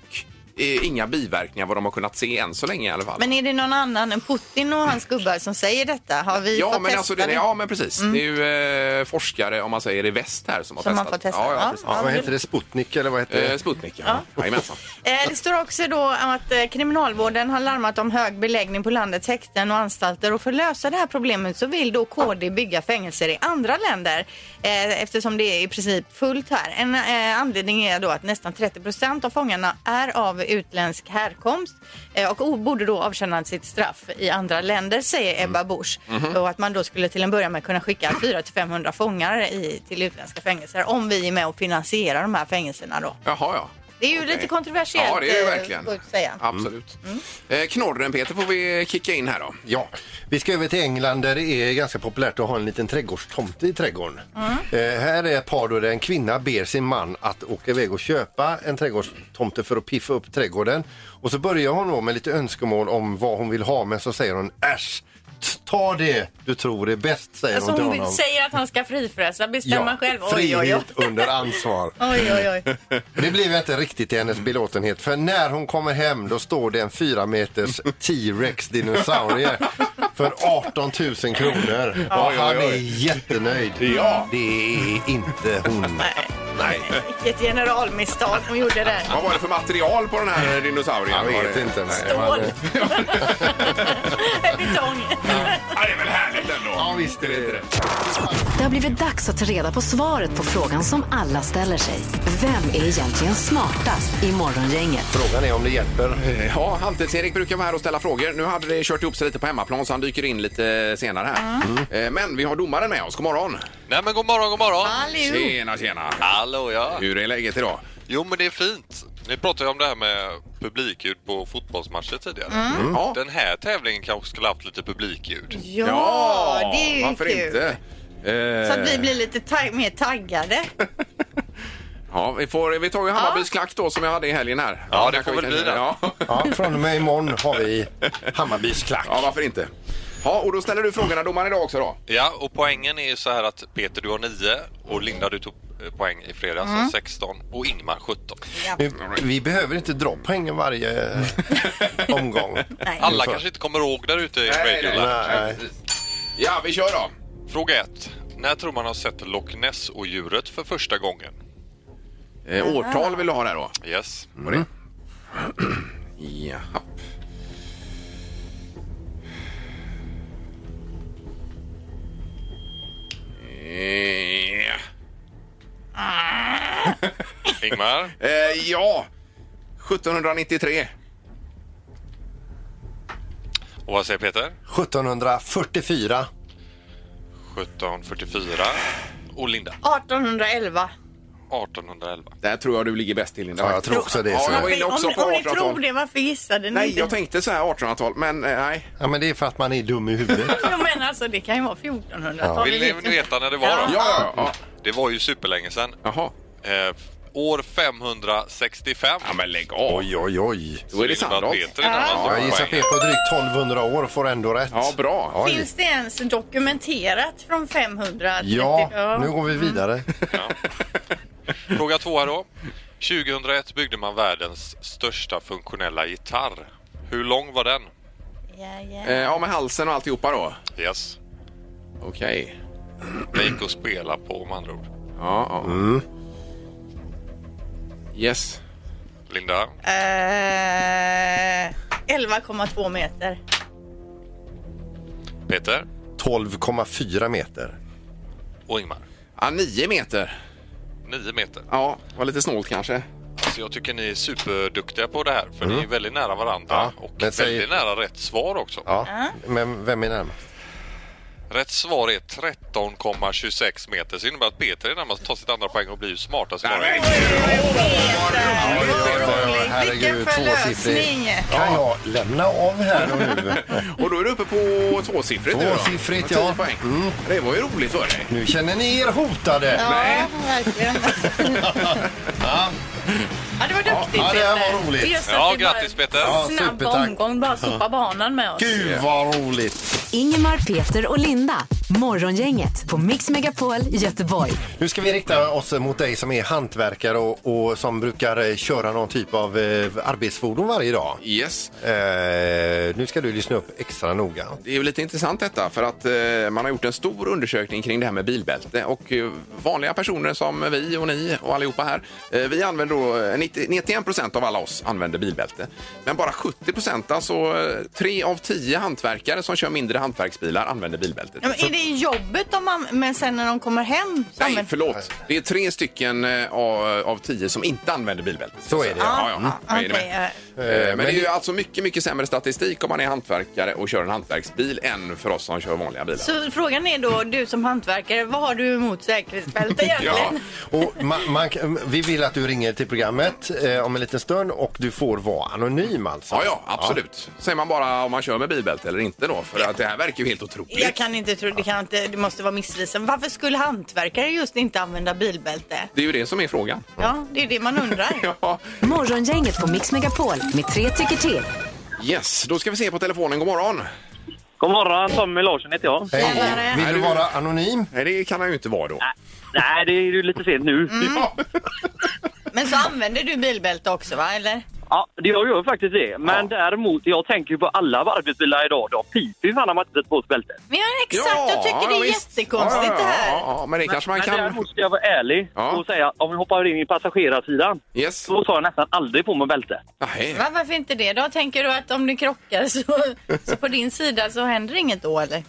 [SPEAKER 2] eh, inga biverkningar vad de har kunnat se än så länge i alla fall.
[SPEAKER 3] Men är det någon annan än Putin och hans gubbar som säger detta? Har vi
[SPEAKER 2] Ja
[SPEAKER 3] fått
[SPEAKER 2] men,
[SPEAKER 3] testa Mm.
[SPEAKER 2] alltså, det, ja, men precis. Det är ju eh, forskare, om man säger i väst här, som har
[SPEAKER 3] Som har
[SPEAKER 2] testat.
[SPEAKER 3] fått testa.
[SPEAKER 2] Ja, ja,
[SPEAKER 3] Ja.
[SPEAKER 2] precis.
[SPEAKER 4] Ja, vad heter det? Sputnik eller vad heter
[SPEAKER 2] Eh,
[SPEAKER 4] det?
[SPEAKER 2] Sputnik, ja. Jajamensan.
[SPEAKER 3] Eh, Det står också då att eh, Kriminalvården har larmat om hög beläggning på landets häkten och anstalter och för att lösa det här problemet så vill då KD bygga fängelser i andra länder eh, eftersom det är i princip fullt här. En eh, anledning är då att nästan 30 procent av fångarna är av utländsk härkomst eh, och o- borde då avtjäna sitt straff i andra länder säger Ebba Busch och att man då skulle till en början med kunna skicka 400-500 fångar i, till utländska fängelser om vi är med och finansierar de här fängelserna då.
[SPEAKER 2] Jaha, ja.
[SPEAKER 3] Det är ju
[SPEAKER 2] Okej.
[SPEAKER 3] lite kontroversiellt.
[SPEAKER 2] Ja, det är det
[SPEAKER 3] eh,
[SPEAKER 2] verkligen.
[SPEAKER 3] får jag Säga. Mm.
[SPEAKER 2] Absolut. Eh, knorren, Peter, får vi kicka in här då.
[SPEAKER 4] Ja, vi ska över till England där det är ganska populärt att ha en liten trädgårdstomte i trädgården. Eh, här är ett par då där en kvinna ber sin man att åka iväg och köpa en trädgårdstomte för att piffa upp trädgården. Och så börjar hon då med lite önskemål om vad hon vill ha men så säger hon äsch, t- ta det du tror är bäst säger
[SPEAKER 5] Alltså
[SPEAKER 4] hon till
[SPEAKER 5] hon
[SPEAKER 4] honom.
[SPEAKER 5] vill- säger att han ska frifräsa, bestämma själv. Oj, oj, oj.
[SPEAKER 4] frihet under ansvar.
[SPEAKER 3] Oj, oj, oj.
[SPEAKER 2] [LAUGHS]
[SPEAKER 4] Och Det blev inte riktigt till hennes belåtenhet för när hon kommer hem då står det en fyra meters T-rex dinosaurie för 18 000 kronor. Och
[SPEAKER 2] Oj, oj,
[SPEAKER 4] han är
[SPEAKER 2] oj.
[SPEAKER 4] jättenöjd.
[SPEAKER 2] Ja.
[SPEAKER 4] Det är inte hon.
[SPEAKER 2] Nej.
[SPEAKER 3] Vilket generalmisstag de gjorde där.
[SPEAKER 2] Vad var det för material på den här dinosaurien?
[SPEAKER 4] Jag
[SPEAKER 2] Var
[SPEAKER 4] vet
[SPEAKER 2] det-
[SPEAKER 4] inte. Nej.
[SPEAKER 5] Stål.
[SPEAKER 4] Men, eh,
[SPEAKER 5] Betong.
[SPEAKER 2] Ja, det är väl härligt ändå?
[SPEAKER 4] Ja, visst är det det.
[SPEAKER 1] Det har blivit dags att ta reda på svaret på frågan som alla ställer sig. Vem är egentligen smartast i Morgongänget?
[SPEAKER 4] Frågan är om det hjälper.
[SPEAKER 2] Eh, Ja, Halvtids-Erik brukar vara här och ställa frågor. Nu hade det kört ihop sig lite på hemmaplan så han dyker in lite senare här. Eh, Men vi har domaren med oss. God morgon!
[SPEAKER 8] Nej men god morgon, god morgon!
[SPEAKER 3] Allihop.
[SPEAKER 2] Tjena, tjena!
[SPEAKER 8] Hallå ja!
[SPEAKER 2] Hur är läget idag?
[SPEAKER 8] Jo men det är fint. Ni pratade ju om det här med publikljud på fotbollsmatcher tidigare.
[SPEAKER 2] Ja.
[SPEAKER 8] Den här tävlingen kanske skulle haft lite publikljud.
[SPEAKER 3] Ja, det är ju
[SPEAKER 2] varför
[SPEAKER 3] kul.
[SPEAKER 2] inte? Eh,
[SPEAKER 3] Så att vi blir lite tag- mer taggade.
[SPEAKER 2] Ja, vi, får, vi tar ju Hammarbys klack då som jag hade i helgen här.
[SPEAKER 8] Ja, det
[SPEAKER 2] Kanske
[SPEAKER 8] får
[SPEAKER 2] vi
[SPEAKER 8] väl
[SPEAKER 2] kan-
[SPEAKER 8] bli det.
[SPEAKER 2] Ja.
[SPEAKER 4] Ja, från och med imorgon har vi Hammarbys klack.
[SPEAKER 2] ja, varför inte? Ja, och då ställer du frågorna domaren idag också då?
[SPEAKER 8] Ja, och poängen är ju så här att Peter du har 9 och Linda du tog eh, poäng i fredags, så 16 och Ingmar 17.
[SPEAKER 4] Nu, vi behöver inte dra poängen varje eh, omgång.
[SPEAKER 8] Alla kanske inte kommer ihåg där ute i
[SPEAKER 2] nej,
[SPEAKER 8] Radioland.
[SPEAKER 2] nej. Ja, vi kör då.
[SPEAKER 8] Fråga 1. När tror man har sett Loch Ness och djuret för första gången?
[SPEAKER 2] Eh, årtal vill du ha där då?
[SPEAKER 8] Yes.
[SPEAKER 2] Var det? Jaha. Eh,
[SPEAKER 8] Ingmar?
[SPEAKER 2] Eh, ja, 1793.
[SPEAKER 8] Och vad säger Peter?
[SPEAKER 4] 1744.
[SPEAKER 8] 1744. Och Linda?
[SPEAKER 3] 1811.
[SPEAKER 8] 1811.
[SPEAKER 2] Där tror jag du ligger bäst till Linda.
[SPEAKER 4] Ja, jag tror också det.
[SPEAKER 2] Ja,
[SPEAKER 4] så.
[SPEAKER 2] jag var inne också
[SPEAKER 3] om,
[SPEAKER 2] på
[SPEAKER 3] om ni tror
[SPEAKER 2] 1800-tal.
[SPEAKER 3] det, varför gissade ni
[SPEAKER 2] Nej,
[SPEAKER 3] inte?
[SPEAKER 2] jag tänkte så här 1800-tal, men eh, nej.
[SPEAKER 4] Ja, men det är för att man är dum i huvudet.
[SPEAKER 3] Jag menar alltså, det kan ju vara 1400-tal.
[SPEAKER 8] Vill ni veta när det var
[SPEAKER 2] Ja,
[SPEAKER 8] då?
[SPEAKER 2] ja, ja.
[SPEAKER 8] Det var ju superlänge sedan.
[SPEAKER 2] Jaha.
[SPEAKER 8] Eh, år 565.
[SPEAKER 2] Ja, men lägg av.
[SPEAKER 4] Oj, oj, oj.
[SPEAKER 2] Då är det Sandholt.
[SPEAKER 8] Peter innan han
[SPEAKER 4] Ja,
[SPEAKER 8] tog
[SPEAKER 4] jag gissar
[SPEAKER 8] poängen.
[SPEAKER 4] P på drygt 1200 år får ändå rätt.
[SPEAKER 2] Ja, bra.
[SPEAKER 4] Oj.
[SPEAKER 3] Finns det ens dokumenterat från 500?
[SPEAKER 4] Ja, nu går vi
[SPEAKER 3] Mm.
[SPEAKER 4] vidare.
[SPEAKER 8] Fråga två här då. 2001 byggde man världens största funktionella gitarr. Hur lång var den?
[SPEAKER 3] Ja, ja.
[SPEAKER 2] Eh, Ja, med halsen och alltihopa då.
[SPEAKER 8] Yes.
[SPEAKER 2] Okej.
[SPEAKER 8] Det gick att spela på med andra ord.
[SPEAKER 2] Ja, ja.
[SPEAKER 4] Mm.
[SPEAKER 2] Yes.
[SPEAKER 8] Linda,
[SPEAKER 3] Eh, 11,2 meter.
[SPEAKER 8] Peter
[SPEAKER 4] 12,4 meter.
[SPEAKER 8] och Ingmar.
[SPEAKER 2] Ja, nio meter.
[SPEAKER 8] 9 meter.
[SPEAKER 2] Ja, var lite snålt kanske.
[SPEAKER 8] Alltså jag tycker ni är superduktiga på det här för ni är väldigt nära varandra
[SPEAKER 4] Mm. Ja,
[SPEAKER 8] och
[SPEAKER 4] men
[SPEAKER 8] väldigt
[SPEAKER 4] säg-
[SPEAKER 8] nära rätt svar också.
[SPEAKER 4] Ja, men vem är närmast?
[SPEAKER 8] Rätt svar är 13,26 meter så det innebär att Peter är närmast att ta sitt andra poäng och blir ju smartast. i morgon.
[SPEAKER 4] eh, Herregud,
[SPEAKER 3] Vilken
[SPEAKER 4] tvåsiffrig.
[SPEAKER 3] förlösning!
[SPEAKER 4] Kan jag lämna av här och nu? [LAUGHS]
[SPEAKER 2] Och då är du uppe på tvåsiffrigt. nu då.
[SPEAKER 4] Tvåsiffrigt,
[SPEAKER 2] Tio
[SPEAKER 4] ja. Mm.
[SPEAKER 2] poäng. Det var ju roligt för dig.
[SPEAKER 4] Nu känner ni er hotade.
[SPEAKER 3] Ja,
[SPEAKER 4] [LAUGHS]
[SPEAKER 3] verkligen. ja, det var duktigt
[SPEAKER 4] Ja, det här
[SPEAKER 3] Peter.
[SPEAKER 4] var roligt.
[SPEAKER 3] Och just att
[SPEAKER 8] Ja,
[SPEAKER 3] vi bara-
[SPEAKER 8] grattis Peter!
[SPEAKER 4] Ja,
[SPEAKER 3] Snabb
[SPEAKER 4] supertack.
[SPEAKER 3] omgång, bara sopa banan med oss.
[SPEAKER 4] Gud vad roligt!
[SPEAKER 1] Ingemar, Peter och Linda. Morgongänget på Mix Megapol Göteborg.
[SPEAKER 4] Nu ska vi rikta oss mot dig som är hantverkare och, och som brukar eh, köra någon typ av eh, arbetsfordon varje dag.
[SPEAKER 2] Yes.
[SPEAKER 4] Eh, nu ska du lyssna upp extra noga.
[SPEAKER 2] Det är ju lite intressant detta för att eh, man har gjort en stor undersökning kring det här med bilbälte och eh, vanliga personer som vi och ni och allihopa här, eh, vi använder då eh, 90, 91 procent av alla oss använder bilbälte. Men bara 70 procent, alltså eh, tre av tio hantverkare som kör mindre hantverksbilar använder bilbältet.
[SPEAKER 3] Ja, men är det i jobbet de man, men sen när de kommer hem? så
[SPEAKER 2] Nej,
[SPEAKER 3] använder-
[SPEAKER 2] förlåt. Det är tre stycken eh, av, av tio som inte använder bilbältet.
[SPEAKER 4] Så är det,
[SPEAKER 2] Ja, ja,
[SPEAKER 3] Ja,
[SPEAKER 2] Jag är med.
[SPEAKER 3] Mm. okej, ja.
[SPEAKER 2] Eh, Men det är ju alltså mycket, mycket sämre statistik om man är hantverkare och kör en hantverksbil än för oss som kör vanliga bilar.
[SPEAKER 3] Så frågan är då, du som hantverkare, vad har du emot
[SPEAKER 4] [LAUGHS]
[SPEAKER 3] säkerhetsbälte egentligen?
[SPEAKER 4] Och ma- man, kan- vi vill att du ringer till programmet eh, om en liten stund och du får vara anonym alltså.
[SPEAKER 2] Ja, ja, absolut. Säger man bara om man kör med bilbälte eller inte då? För att det här verkar ju helt otroligt.
[SPEAKER 3] Jag kan inte tro, det kan inte, du måste vara missvisande. Varför skulle hantverkare just inte använda bilbälte?
[SPEAKER 2] Det är ju det som är frågan. [LAUGHS]
[SPEAKER 3] Ja, det är det man undrar.
[SPEAKER 2] Ja,
[SPEAKER 1] Morgongänget på Mix Megapol med tre tycker till.
[SPEAKER 2] yes. Då ska vi se på telefonen. God morgon.
[SPEAKER 9] God morgon, Tommy Larsson heter jag.
[SPEAKER 4] Hej, vill du vara anonym?
[SPEAKER 2] Nej, det kan han ju inte vara då.
[SPEAKER 9] Nej, det är ju lite sent nu.
[SPEAKER 2] Ja.
[SPEAKER 3] Men så använder du bilbälte också va, eller?
[SPEAKER 9] Ja, det jag gör faktiskt det. Men
[SPEAKER 2] Ja.
[SPEAKER 9] däremot, jag tänker ju på alla arbetsbilar idag. De piper ju fan om man inte sätter på sig bälte.
[SPEAKER 3] Men ja, exakt, jag tycker
[SPEAKER 2] ja,
[SPEAKER 3] det är
[SPEAKER 2] visst.
[SPEAKER 3] jättekonstigt
[SPEAKER 2] ja, ja,
[SPEAKER 3] det
[SPEAKER 2] Ja,
[SPEAKER 3] här.
[SPEAKER 2] ja, ja, men det kanske man
[SPEAKER 9] Men
[SPEAKER 2] kan...
[SPEAKER 9] däremot ska jag vara ärlig
[SPEAKER 2] Ja.
[SPEAKER 9] och säga att om vi hoppar in i passagerarsidan
[SPEAKER 2] Yes.
[SPEAKER 9] så tar jag nästan aldrig på mig bälte.
[SPEAKER 2] Nej.
[SPEAKER 3] Va, varför inte det då? Tänker du att om du krockar så, så på din sida så händer inget då eller?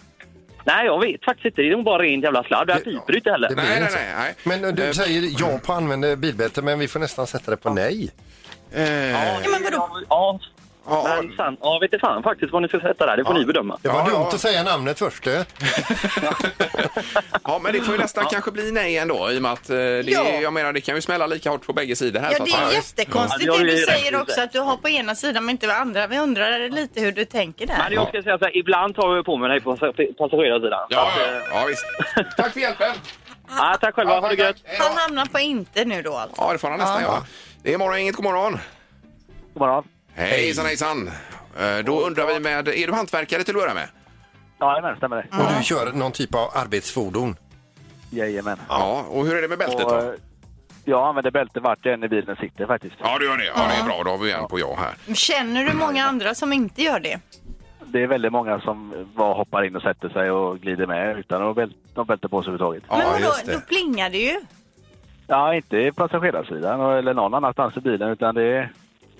[SPEAKER 9] Nej, jag vet faktiskt inte. Det är nog bara ren jävla sladd. Det här piper ju inte heller.
[SPEAKER 4] Det blir
[SPEAKER 2] Nej, nej,
[SPEAKER 4] inte så.
[SPEAKER 2] nej, nej.
[SPEAKER 4] Men eh, du säger ja på använda bilbälte men vi får nästan sätta det på nej.
[SPEAKER 3] Ja, men vadå?
[SPEAKER 9] Ja,
[SPEAKER 2] Eh, Ja,
[SPEAKER 9] men fan, ja, vet inte fan faktiskt vad ni ska sätta där. Det får ni bedöma.
[SPEAKER 4] Det var
[SPEAKER 2] Ja,
[SPEAKER 4] dumt
[SPEAKER 2] ja.
[SPEAKER 4] att säga namnet först. eh.
[SPEAKER 2] ja, men det får ju nästan kanske bli nej ändå i och med att eh, det,
[SPEAKER 3] Ja.
[SPEAKER 2] jag menar, det kan ju smälla lika hårt på bägge sidor här.
[SPEAKER 3] Ja,
[SPEAKER 2] så
[SPEAKER 3] det
[SPEAKER 2] att-
[SPEAKER 3] är
[SPEAKER 2] visst.
[SPEAKER 3] jättekonstigt
[SPEAKER 9] Ja, det
[SPEAKER 3] det
[SPEAKER 9] har du
[SPEAKER 3] du
[SPEAKER 9] ju
[SPEAKER 3] säger
[SPEAKER 9] rätt i.
[SPEAKER 3] också att du har på ena sidan men inte på andra. Vi undrar lite hur du tänker
[SPEAKER 9] Men
[SPEAKER 3] där.
[SPEAKER 9] jag ska säga så här, ibland tar jag på mig den här passa- passagerarsidan.
[SPEAKER 2] Ja, ja, eh, ja, visst. [LAUGHS] Tack för hjälpen.
[SPEAKER 9] Ja, tack själva, ha det gött!
[SPEAKER 2] Hej
[SPEAKER 3] Han
[SPEAKER 2] då.
[SPEAKER 3] hamnar på inte nu då alltså.
[SPEAKER 2] Ja, det får han nästan göra. Det är morgon, inget god morgon.
[SPEAKER 9] God morgon.
[SPEAKER 2] Hejsan, hejsan. Eh, Då undrar vi med, är du hantverkare till att börja med?
[SPEAKER 9] Jajamän, stämmer det.
[SPEAKER 4] Och du kör någon typ av arbetsfordon.
[SPEAKER 9] Jajamän.
[SPEAKER 2] Ja, och hur är det med bältet
[SPEAKER 9] Och,
[SPEAKER 2] då?
[SPEAKER 9] eh, jag använder bälte vart jag än i bilen sitter faktiskt.
[SPEAKER 2] Ja, du gör det. Ja, det är bra. Då har vi en på ja här.
[SPEAKER 3] Känner du många andra som inte gör det?
[SPEAKER 9] Det är väldigt många som bara hoppar in och sätter sig och glider med utan att bäl- de bälte på sig överhuvudtaget.
[SPEAKER 2] Ja,
[SPEAKER 3] men vadå,
[SPEAKER 2] just det.
[SPEAKER 3] då plingar det ju.
[SPEAKER 9] Ja, inte i passagerarsidan och- eller någon annanstans i bilen utan det är,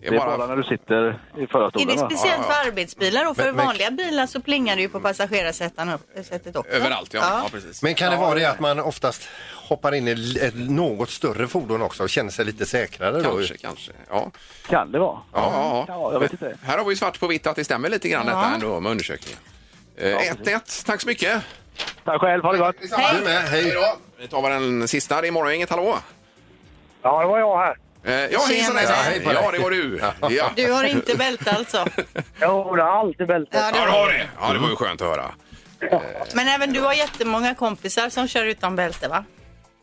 [SPEAKER 9] det är bara när du sitter i
[SPEAKER 3] Är
[SPEAKER 9] förarstolen.
[SPEAKER 3] det
[SPEAKER 9] va?
[SPEAKER 3] speciellt för arbetsbilar och för
[SPEAKER 4] Men- men-
[SPEAKER 3] vanliga bilar så plingar det ju på passagerarsätten upp- sättet också.
[SPEAKER 2] Överallt, ja. ja. precis.
[SPEAKER 4] Men kan det vara det att man oftast hoppar in i l- ett något större fordon också och känner sig lite säkrare då?
[SPEAKER 2] Kanske, kanske. Ja.
[SPEAKER 9] Kan det vara?
[SPEAKER 2] Ja, ja,
[SPEAKER 9] Ja, jag vet inte.
[SPEAKER 2] Här har vi svart på vitt att det stämmer lite grann detta ändå med undersökningen. Eh, 1-1, tack så mycket.
[SPEAKER 9] Tack själv, ha det gott!
[SPEAKER 4] Du med, hej.
[SPEAKER 2] Vi tar väl den sista. Det är morgongänget, hallå?
[SPEAKER 10] Ja, det var jag här.
[SPEAKER 2] Eh, Ja, hejsan,
[SPEAKER 10] Tjena.
[SPEAKER 2] hejsan.
[SPEAKER 10] Ja, hej på dig.
[SPEAKER 2] Ja, det var du. Ja.
[SPEAKER 3] Du har inte bälte alltså.
[SPEAKER 10] [LAUGHS] Jo, det har alltid bälte.
[SPEAKER 3] Ja, det har
[SPEAKER 2] Ja, det. Ja, det var ju skönt att höra.
[SPEAKER 3] Men även du har jättemånga kompisar som kör utan bälte va?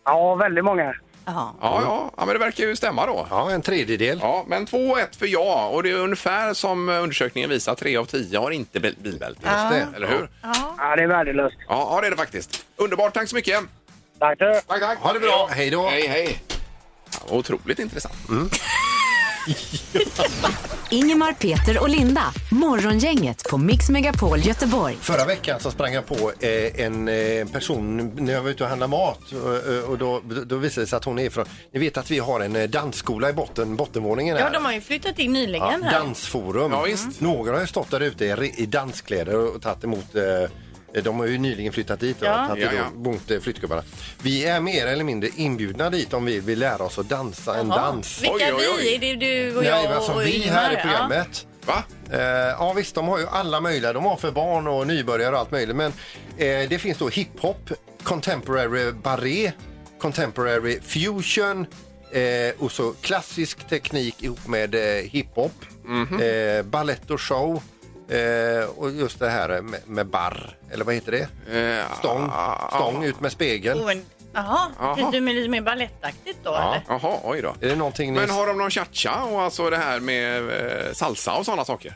[SPEAKER 10] Ja, väldigt många.
[SPEAKER 3] Ja,
[SPEAKER 2] Ja, ja. ja men det verkar ju stämma då.
[SPEAKER 4] Ja, en tredjedel.
[SPEAKER 2] Ja, men 2-1 för ja och det är ungefär som undersökningen visar, 3 av 10 har inte bil- bilbälte.
[SPEAKER 4] Just det.
[SPEAKER 2] Eller hur?
[SPEAKER 10] Ja, det är värdelöst.
[SPEAKER 2] Ja, ja, det är det faktiskt. Underbart, tack så mycket.
[SPEAKER 10] Tack du.
[SPEAKER 2] Tack, tack.
[SPEAKER 4] Ha det bra. Hej då.
[SPEAKER 2] Hej, hej. Ja, otroligt intressant.
[SPEAKER 1] Ingemar, Peter och Linda. Morgongänget på Mix Megapol Göteborg.
[SPEAKER 4] Förra veckan så sprang jag på eh, en eh, person när jag var ute och handlade mat och, eh, och då, då visade det sig att hon är från, ni vet att vi har en eh, dansskola i botten, bottenvåningen här.
[SPEAKER 3] ja de har ju flyttat in
[SPEAKER 4] Ja,
[SPEAKER 3] nyligen här.
[SPEAKER 4] dansforum. Mm.
[SPEAKER 2] Ja, visst.
[SPEAKER 4] Några har ju stått där ute i, re- i danskläder och tagit emot eh, de har ju nyligen flyttat dit och
[SPEAKER 3] Ja.
[SPEAKER 4] tagit
[SPEAKER 2] Ja, ja.
[SPEAKER 4] emot eh, flyttgubbarna. Vi är mer eller mindre inbjudna dit om vi vill lära oss att dansa en dans.
[SPEAKER 3] Vilka
[SPEAKER 2] Oj, oj, oj.
[SPEAKER 3] vi? Det är du och jag
[SPEAKER 4] Nej, men alltså,
[SPEAKER 3] och
[SPEAKER 4] vi
[SPEAKER 3] Ingemar,
[SPEAKER 4] här i
[SPEAKER 3] ja.
[SPEAKER 4] programmet.
[SPEAKER 2] Va?
[SPEAKER 4] Eh, ja visst, de har ju alla möjliga. De har för barn och nybörjare och allt möjligt. Men eh, det finns då hiphop, contemporary barré, contemporary fusion eh, och så klassisk teknik ihop med eh, hiphop,
[SPEAKER 2] Mhm.
[SPEAKER 4] eh, ballett och show. Eh, och just det här med, med barr, eller vad heter det?
[SPEAKER 2] Eh,
[SPEAKER 4] Stång, stång ut med spegeln.
[SPEAKER 3] Oh, en- Jaha,
[SPEAKER 2] Jaha.
[SPEAKER 3] du menar lite mer balettaktigt då eller?
[SPEAKER 2] Jaha, oj då.
[SPEAKER 4] Är det någonting ni...
[SPEAKER 2] Men har de någon cha-cha och alltså det här med eh, salsa och sådana saker?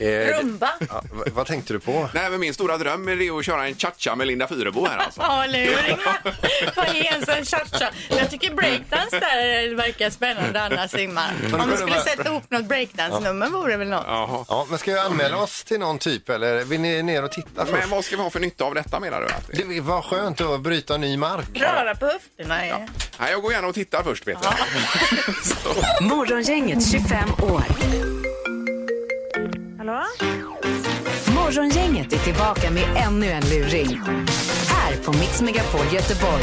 [SPEAKER 4] eh,
[SPEAKER 3] Rumba?
[SPEAKER 4] ja, v- vad tänkte du på?
[SPEAKER 2] Nej, men min stora dröm är det att köra en cha-cha med Linda Fyrebo här alltså.
[SPEAKER 3] Ja, eller hur Ingemar? Vad är ens en cha-cha? Men Jag tycker breakdance där verkar spännande annars Ingemar. Om vi skulle sätta ihop något breakdance-nummer vore väl något.
[SPEAKER 2] Jaha.
[SPEAKER 4] Ja, men ska vi anmäla oss till någon typ eller vill ni ner och titta först?
[SPEAKER 2] Men vad ska vi ha för nytta av detta menar du? Att...
[SPEAKER 4] Det var skönt att bryta ny mark.
[SPEAKER 3] Röra på höfterna. Ja.
[SPEAKER 2] Nej, jag går gärna och tittar först vet du. Så.
[SPEAKER 1] Morgongänget 25 år.
[SPEAKER 7] Hallå?
[SPEAKER 1] Morgongänget är tillbaka med ännu en luring. Här på Mix Megapol Göteborg.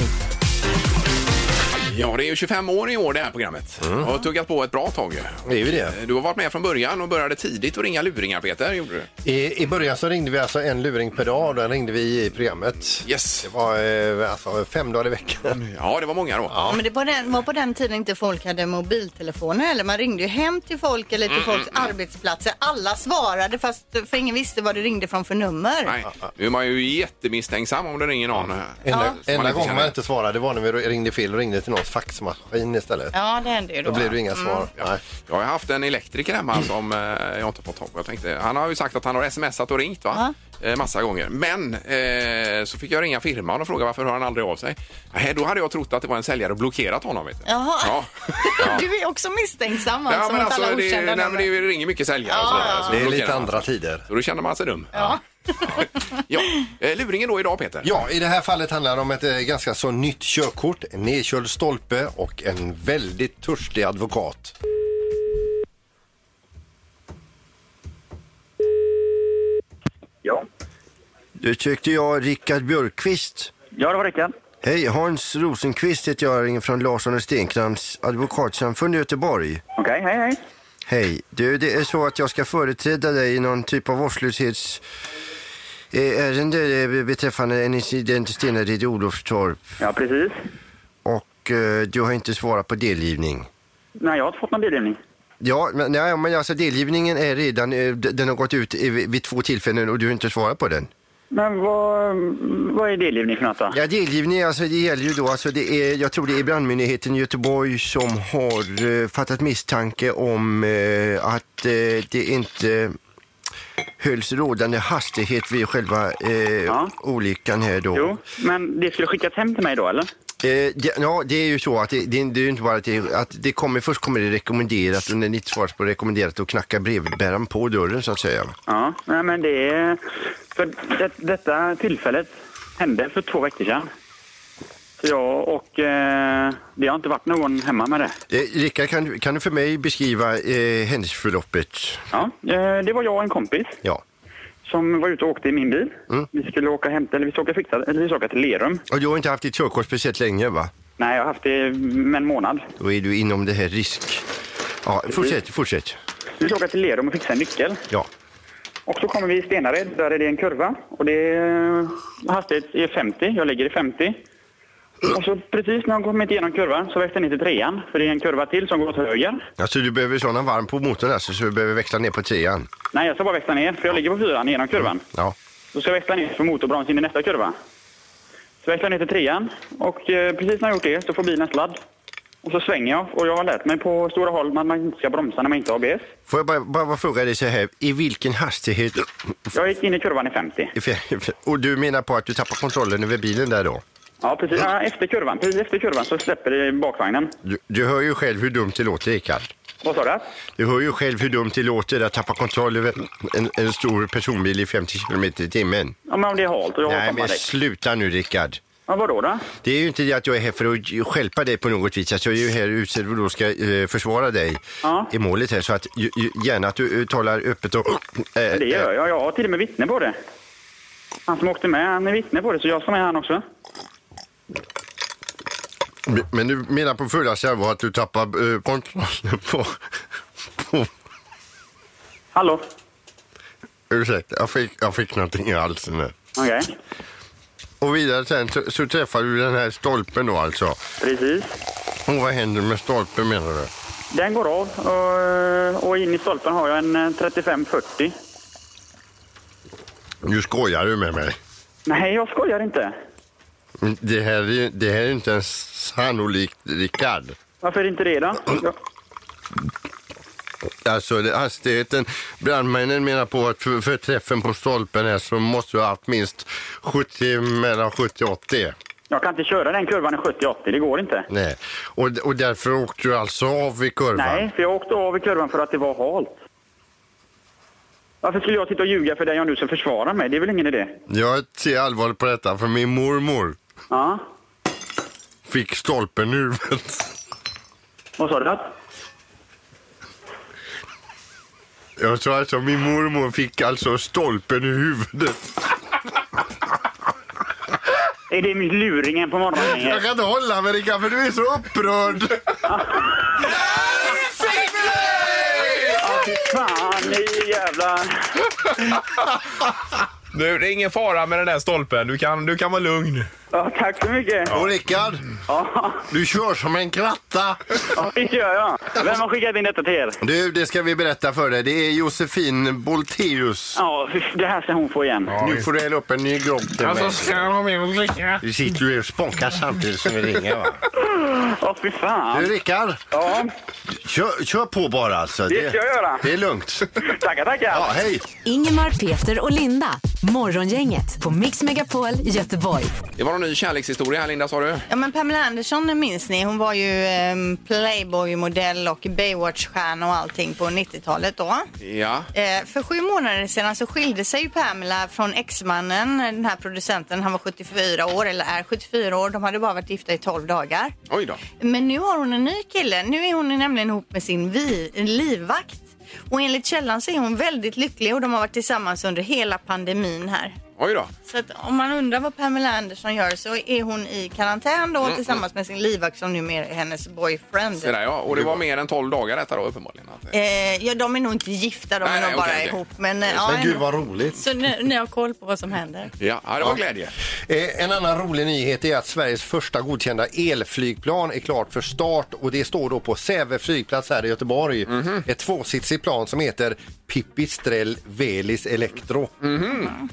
[SPEAKER 2] Ja, det är ju 25 år i år det här programmet.
[SPEAKER 4] Mm.
[SPEAKER 2] Jag har tuggat på ett bra tag.
[SPEAKER 4] Det är ju det.
[SPEAKER 2] Du har varit med från början och började tidigt att ringa luringar, Peter. Gjorde du?
[SPEAKER 4] I, I början så ringde vi alltså en luring per dag och den ringde vi i programmet.
[SPEAKER 2] Yes.
[SPEAKER 4] Det var eh, alltså fem dagar i veckan.
[SPEAKER 2] Ja, det var många då.
[SPEAKER 3] Ja, men det var, den, var på den tiden inte folk hade mobiltelefoner heller. Man ringde ju hem till folk eller
[SPEAKER 2] Mm,
[SPEAKER 3] till folks arbetsplatser. Alla svarade fast för ingen visste vad det ringde från för nummer.
[SPEAKER 2] Nej, nu är man ju jättemisstänksam om det ringer någon.
[SPEAKER 4] Enda,
[SPEAKER 2] Som
[SPEAKER 4] enda
[SPEAKER 2] inte
[SPEAKER 4] gången man
[SPEAKER 2] känner.
[SPEAKER 4] inte svarade det var när vi ringde fel och ringde till någons faxmaskin istället.
[SPEAKER 3] Ja, det hände ju då.
[SPEAKER 4] Då blev det inga svar. Nej.
[SPEAKER 2] Jag har haft en elektriker hemma
[SPEAKER 4] Mm.
[SPEAKER 2] som eh, jag inte har fått tag på. Jag tänkte, han har ju sagt att han har smsat och ringt va? Eh, massa gånger. Men eh, så fick jag ringa firman och fråga varför hör han aldrig av sig. Nej, då hade jag trott att det var en säljare och blockerat honom. Vet du.
[SPEAKER 3] Jaha.
[SPEAKER 4] [LAUGHS]
[SPEAKER 2] Ja. [LAUGHS]
[SPEAKER 3] Du är också misstänksam alltså
[SPEAKER 2] ja, men
[SPEAKER 3] mot
[SPEAKER 2] alltså,
[SPEAKER 3] alla
[SPEAKER 2] det,
[SPEAKER 3] okända
[SPEAKER 2] nej, men
[SPEAKER 3] nummer.
[SPEAKER 2] det ringer mycket säljare. och så, vidare, så
[SPEAKER 4] Det är
[SPEAKER 2] blockerar
[SPEAKER 4] lite
[SPEAKER 2] man.
[SPEAKER 4] andra tider.
[SPEAKER 2] Så då känner man sig dum. Ja. ja. Eh, Luringen då idag Peter?
[SPEAKER 4] Ja, i det här fallet handlar det om ett eh, ganska så nytt körkort, en nedkörd stolpe och en väldigt törstig advokat.
[SPEAKER 10] Ja.
[SPEAKER 11] Du tyckte jag Rickard Björkqvist.
[SPEAKER 10] Ja, det var Rickard.
[SPEAKER 11] Hej, Hans Rosenqvist heter jag, ringer från Larsson och Stenkrans advokatsamfund i Göteborg.
[SPEAKER 10] Okej, hej, hej.
[SPEAKER 11] Hej, du det är så att jag ska företräda dig i någon typ av vårdslöshets eh, ärende eh, beträffande en incident i Stenared i Olofstorp
[SPEAKER 10] Ja, precis.
[SPEAKER 11] och eh, du har inte svarat på delgivning.
[SPEAKER 10] Nej, jag har inte fått någon delgivning.
[SPEAKER 11] Ja, men, nej, men alltså delgivningen är redan, eh, d- den har gått ut i- vid två tillfällen och du har inte svarat på den.
[SPEAKER 10] Men vad, vad är delgivning för något då?
[SPEAKER 11] Ja, delgivning, alltså det gäller ju då, alltså det är, jag tror det är brandmyndigheten i Göteborg som har eh, fattat misstanke om eh, att eh, det inte hölls rådande hastighet vid själva eh,
[SPEAKER 10] Ja.
[SPEAKER 11] olyckan här då.
[SPEAKER 10] Jo, men det skulle skickas hem till mig då, eller?
[SPEAKER 11] Eh, det, ja, det är ju så att det, det, det är ju inte bara att det, att det kommer, först kommer det rekommenderat och när det inte svaras på rekommenderat då knackar brevbäraren på dörren så att säga.
[SPEAKER 10] Ja, nej men det är... För det, detta tillfället hände för två veckor sedan. Så jag och... Eh, det har inte varit någon hemma med det.
[SPEAKER 11] Eh, Rickard, kan, du- kan du för mig beskriva eh, händelseförloppet?
[SPEAKER 10] Ja, eh, det var jag och en kompis
[SPEAKER 11] Ja.
[SPEAKER 10] som var ute och åkte i min bil. Vi skulle åka hem, eller vi skulle åka, fixa, eller vi skulle åka till Lerum.
[SPEAKER 11] Och du har inte haft ditt körkort speciellt länge va?
[SPEAKER 10] Nej, jag har haft det med en månad.
[SPEAKER 11] Då är du inom det här risk... Ja, fortsätt, fortsätt.
[SPEAKER 10] Vi skulle åka till Lerum och fixa en nyckel.
[SPEAKER 11] Ja.
[SPEAKER 10] Och så kommer vi i Stenared, där är det en kurva. Och det är, hastighet är 50, jag ligger i 50. Och så precis när han kommit igenom kurvan så växte han ner till trean. För det är en kurva till som går åt höger.
[SPEAKER 11] Alltså du behöver sådana varm på motorn alltså, så du behöver växla ner på trean.
[SPEAKER 10] Nej, jag ska bara växla ner för jag ligger på fyran genom kurvan.
[SPEAKER 11] Ja.
[SPEAKER 10] Då ska jag växla ner för motorbromsen in i nästa kurva. Så växlar jag ner till trean och eh, precis när jag gjort det så får bilen sladd. Och så svänger jag och jag har lärt mig på stora håll att man inte ska bromsa när man inte har ABS.
[SPEAKER 11] Får jag bara, bara fråga dig så här, i vilken hastighet... [LAUGHS]
[SPEAKER 10] Jag gick in i kurvan i 50.
[SPEAKER 11] Och du menar på att du tappar kontrollen över bilen där då?
[SPEAKER 10] Ja, precis. Ja, efter kurvan. Precis efter kurvan så släpper det i bakvagnen.
[SPEAKER 11] Du, du hör ju själv hur dumt det låter, Rickard.
[SPEAKER 10] Vad sa du?
[SPEAKER 11] Du hör ju själv hur dumt det låter att tappa kontroll över en, en stor personbil i 50 kilometer i timmen.
[SPEAKER 10] Ja, men om det är halt och jag har
[SPEAKER 11] Nej, men Eh,
[SPEAKER 10] sommardäck.
[SPEAKER 11] sluta nu, Rickard.
[SPEAKER 10] Ja, vadå då?
[SPEAKER 11] Det är ju inte det att jag är här för att stjälpa dig på något vis. Alltså, jag är ju här utsedd och då ska eh, försvara dig
[SPEAKER 10] Ja.
[SPEAKER 11] i målet här. Så att, ju, ju, gärna att du eh, talar öppet och... eh,
[SPEAKER 10] Det gör jag. Jag har till och med vittne på det. Han som åkte med, han är vittne på det, så jag ska med han också.
[SPEAKER 11] Men du menar på fullaste allvar att du tappar eh, kontrollen på... på
[SPEAKER 10] Hallå?
[SPEAKER 11] Ursäkta, jag fick, jag fick någonting i halsen nu.
[SPEAKER 10] Okej.
[SPEAKER 11] Och vidare sen så, så träffar du den här stolpen då alltså?
[SPEAKER 10] Precis.
[SPEAKER 11] Och vad händer med stolpen menar du?
[SPEAKER 10] Den går av och, och in i stolpen har jag en eh, 35-40.
[SPEAKER 11] Nu skojar du med mig.
[SPEAKER 10] Nej, jag skojar inte.
[SPEAKER 11] Det här är, ju- det här är inte ens sannolikt Rickard.
[SPEAKER 10] Varför inte det då? Jag,
[SPEAKER 11] Alltså det- hastigheten, brandmännen menar på att för, för träffen på stolpen här så måste du ha haft minst 70, mellan 70 och 80.
[SPEAKER 10] jag kan inte köra den kurvan i 70-80, det går inte.
[SPEAKER 11] Nej. Och, och därför åkte du alltså av i kurvan?
[SPEAKER 10] Nej, för jag åkte av i kurvan för att det var halt. Varför skulle jag sitta och ljuga för dig om du ska försvara mig? Det är väl ingen idé?
[SPEAKER 11] Jag ser allvarligt på detta för min mormor
[SPEAKER 10] Ja,
[SPEAKER 11] fick stolpen i huvudet. [LAUGHS]
[SPEAKER 10] vad sa du?
[SPEAKER 11] Jag sa alltså min mormor fick alltså stolpen i huvudet.
[SPEAKER 10] Är det luringen på morgonen?
[SPEAKER 11] Jag kan inte hålla mig Rickard för du är så upprörd.
[SPEAKER 10] Ja, fy fan, ni jävla...
[SPEAKER 2] Nu, det är ingen fara med den där stolpen. Du kan, du kan vara lugn.
[SPEAKER 10] Ja, tack så mycket.
[SPEAKER 11] Och Rickard,
[SPEAKER 10] Ja,
[SPEAKER 11] du kör som en kratta.
[SPEAKER 10] ja, det gör jag. Vem har skickat in detta till er?
[SPEAKER 11] Du, det ska vi berätta för dig. Det är Josefin Bolteus.
[SPEAKER 10] Ja, fy- det här ska hon få igen.
[SPEAKER 11] Nu får du hälla upp en ny grogg till mig.
[SPEAKER 10] Alltså, jag ha med och dricka?
[SPEAKER 11] Du sitter ju och spånkar samtidigt som vi ringer va?
[SPEAKER 10] Åh, fy fan.
[SPEAKER 11] Du Rickard,
[SPEAKER 10] Ja,
[SPEAKER 11] kör, kör på bara alltså.
[SPEAKER 1] Det ska jag göra.
[SPEAKER 11] Det är lugnt.
[SPEAKER 10] Tackar, tackar.
[SPEAKER 11] Ja, hej.
[SPEAKER 1] Ingemar, Peter och Linda. Morgongänget på Mix Megapol Göteborg.
[SPEAKER 2] Det var en ny kärlekshistoria här Linda sa du.
[SPEAKER 3] Ja men Pamela Andersson minns ni, hon var ju ehm, Playboy-modell och Baywatch-stjärna och allting på 90-talet då.
[SPEAKER 2] Ja.
[SPEAKER 3] Eh, För sju månader sedan så skilde sig ju Pamela från exmannen, den här producenten. Han var 74 år, eller är 74 år. De hade bara varit gifta i 12 dagar.
[SPEAKER 2] Oj då.
[SPEAKER 3] Men nu har hon en ny kille. Nu är hon nämligen ihop med sin vi- livvakt. Och enligt källan så är hon väldigt lycklig och de har varit tillsammans under hela pandemin här.
[SPEAKER 2] Oj då.
[SPEAKER 3] Så att om man undrar vad Pamela Anderson gör så är hon i karantän då
[SPEAKER 2] Mm,
[SPEAKER 3] tillsammans med sin livvakt som numera är hennes boyfriend.
[SPEAKER 2] Se där, ja. Och det var mer än 12 dagar detta då uppenbarligen.
[SPEAKER 3] Eh, ja, de är nog inte gifta, de
[SPEAKER 2] Nej,
[SPEAKER 3] är nog
[SPEAKER 2] nej,
[SPEAKER 3] bara
[SPEAKER 2] okej, okej.
[SPEAKER 3] ihop. Men, eh, ja, ändå.
[SPEAKER 11] roligt.
[SPEAKER 3] Så nu, nu har jag koll på vad som händer.
[SPEAKER 2] Ja, det var glädje.
[SPEAKER 4] Eh, En annan rolig nyhet är att Sveriges första godkända elflygplan är klart för start och det står då på Säve flygplats här i Göteborg. Ett tvåsitsigt plan som heter Pipistrel Velis Electro.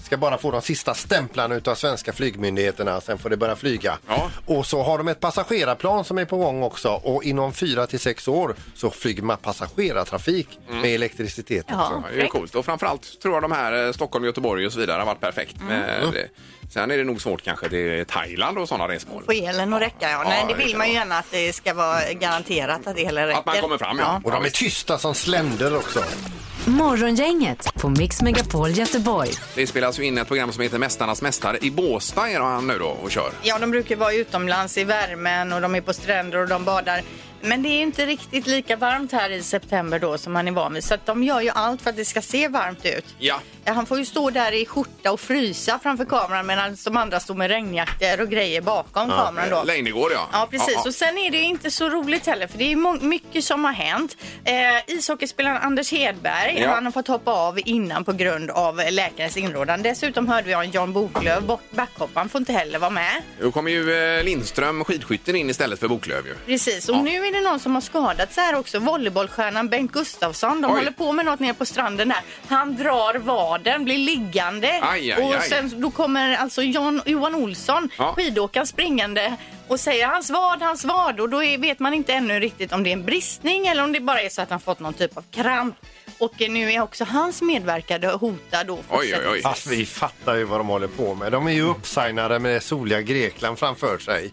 [SPEAKER 4] Ska bara få de sista stämplarna utav svenska flygmyndigheterna, sen får det börja flyga. Och så har de ett passagerarplan som är på gång också och inom 4 till 6 år så flyger man passagerartrafik med elektricitet också.
[SPEAKER 2] det är ju coolt. Och framförallt tror jag de här eh, Stockholm, Göteborg och så vidare har varit perfekt. med det. Sen är det nog svårt kanske till Thailand och sådana resmål.
[SPEAKER 3] Få elen att räcka, ja. Nej,
[SPEAKER 2] Ja,
[SPEAKER 3] det
[SPEAKER 2] det
[SPEAKER 3] vill
[SPEAKER 2] kan
[SPEAKER 3] man ju gärna att det ska vara garanterat att elen räcker.
[SPEAKER 2] Att man kommer fram ja.
[SPEAKER 4] Och de är tysta som sländer också.
[SPEAKER 1] Morgongänget på Mix Megapol Göteborg.
[SPEAKER 2] Det spelas ju in ett program som heter Mästarnas mästare. I Båstad är han nu då och kör.
[SPEAKER 3] Ja, de brukar vara utomlands i värmen och de är på stränder och de badar. Men det är inte riktigt lika varmt här i september då som man är van vid. Så att de gör ju allt för att det ska se varmt ut.
[SPEAKER 2] Ja.
[SPEAKER 3] Ja, Han får ju stå där i skjorta och frysa framför kameran medan de andra står med regnjackor och grejer bakom kameran då.
[SPEAKER 2] Leijnegård, ja.
[SPEAKER 3] Ja, precis. Och sen är det ju inte så roligt heller för det är må- mycket som har hänt. Eh, ishockeyspelaren Anders Hedberg,
[SPEAKER 2] Ja.
[SPEAKER 3] han har fått hoppa av innan på grund av läkarens inrådan. Dessutom hörde vi om Jan Boklöv, bak- backhopparen, får inte heller vara med.
[SPEAKER 2] Nu kommer ju eh, Lindström, skidskytten, in istället för Boklöv ju.
[SPEAKER 3] Precis, och nu är det någon som har skadats här också. Volleybollstjärnan Bengt Gustafsson. De
[SPEAKER 2] Oj.
[SPEAKER 3] håller på med något nere på stranden där. Han drar vaden, blir liggande.
[SPEAKER 2] Aj, aj,
[SPEAKER 3] och
[SPEAKER 2] aj.
[SPEAKER 3] sen då kommer alltså John, Johan Olsson,
[SPEAKER 2] Ja.
[SPEAKER 3] skidåkaren, springande och säger hans vad, hans vad. Och då är, vet man inte ännu riktigt om det är en bristning eller om det bara är så att han fått någon typ av kramp. Och eh, nu är också hans medverkande hotad då.
[SPEAKER 4] Fast vi fattar ju vad de håller på med. De är ju uppsignade med soliga Grekland framför sig.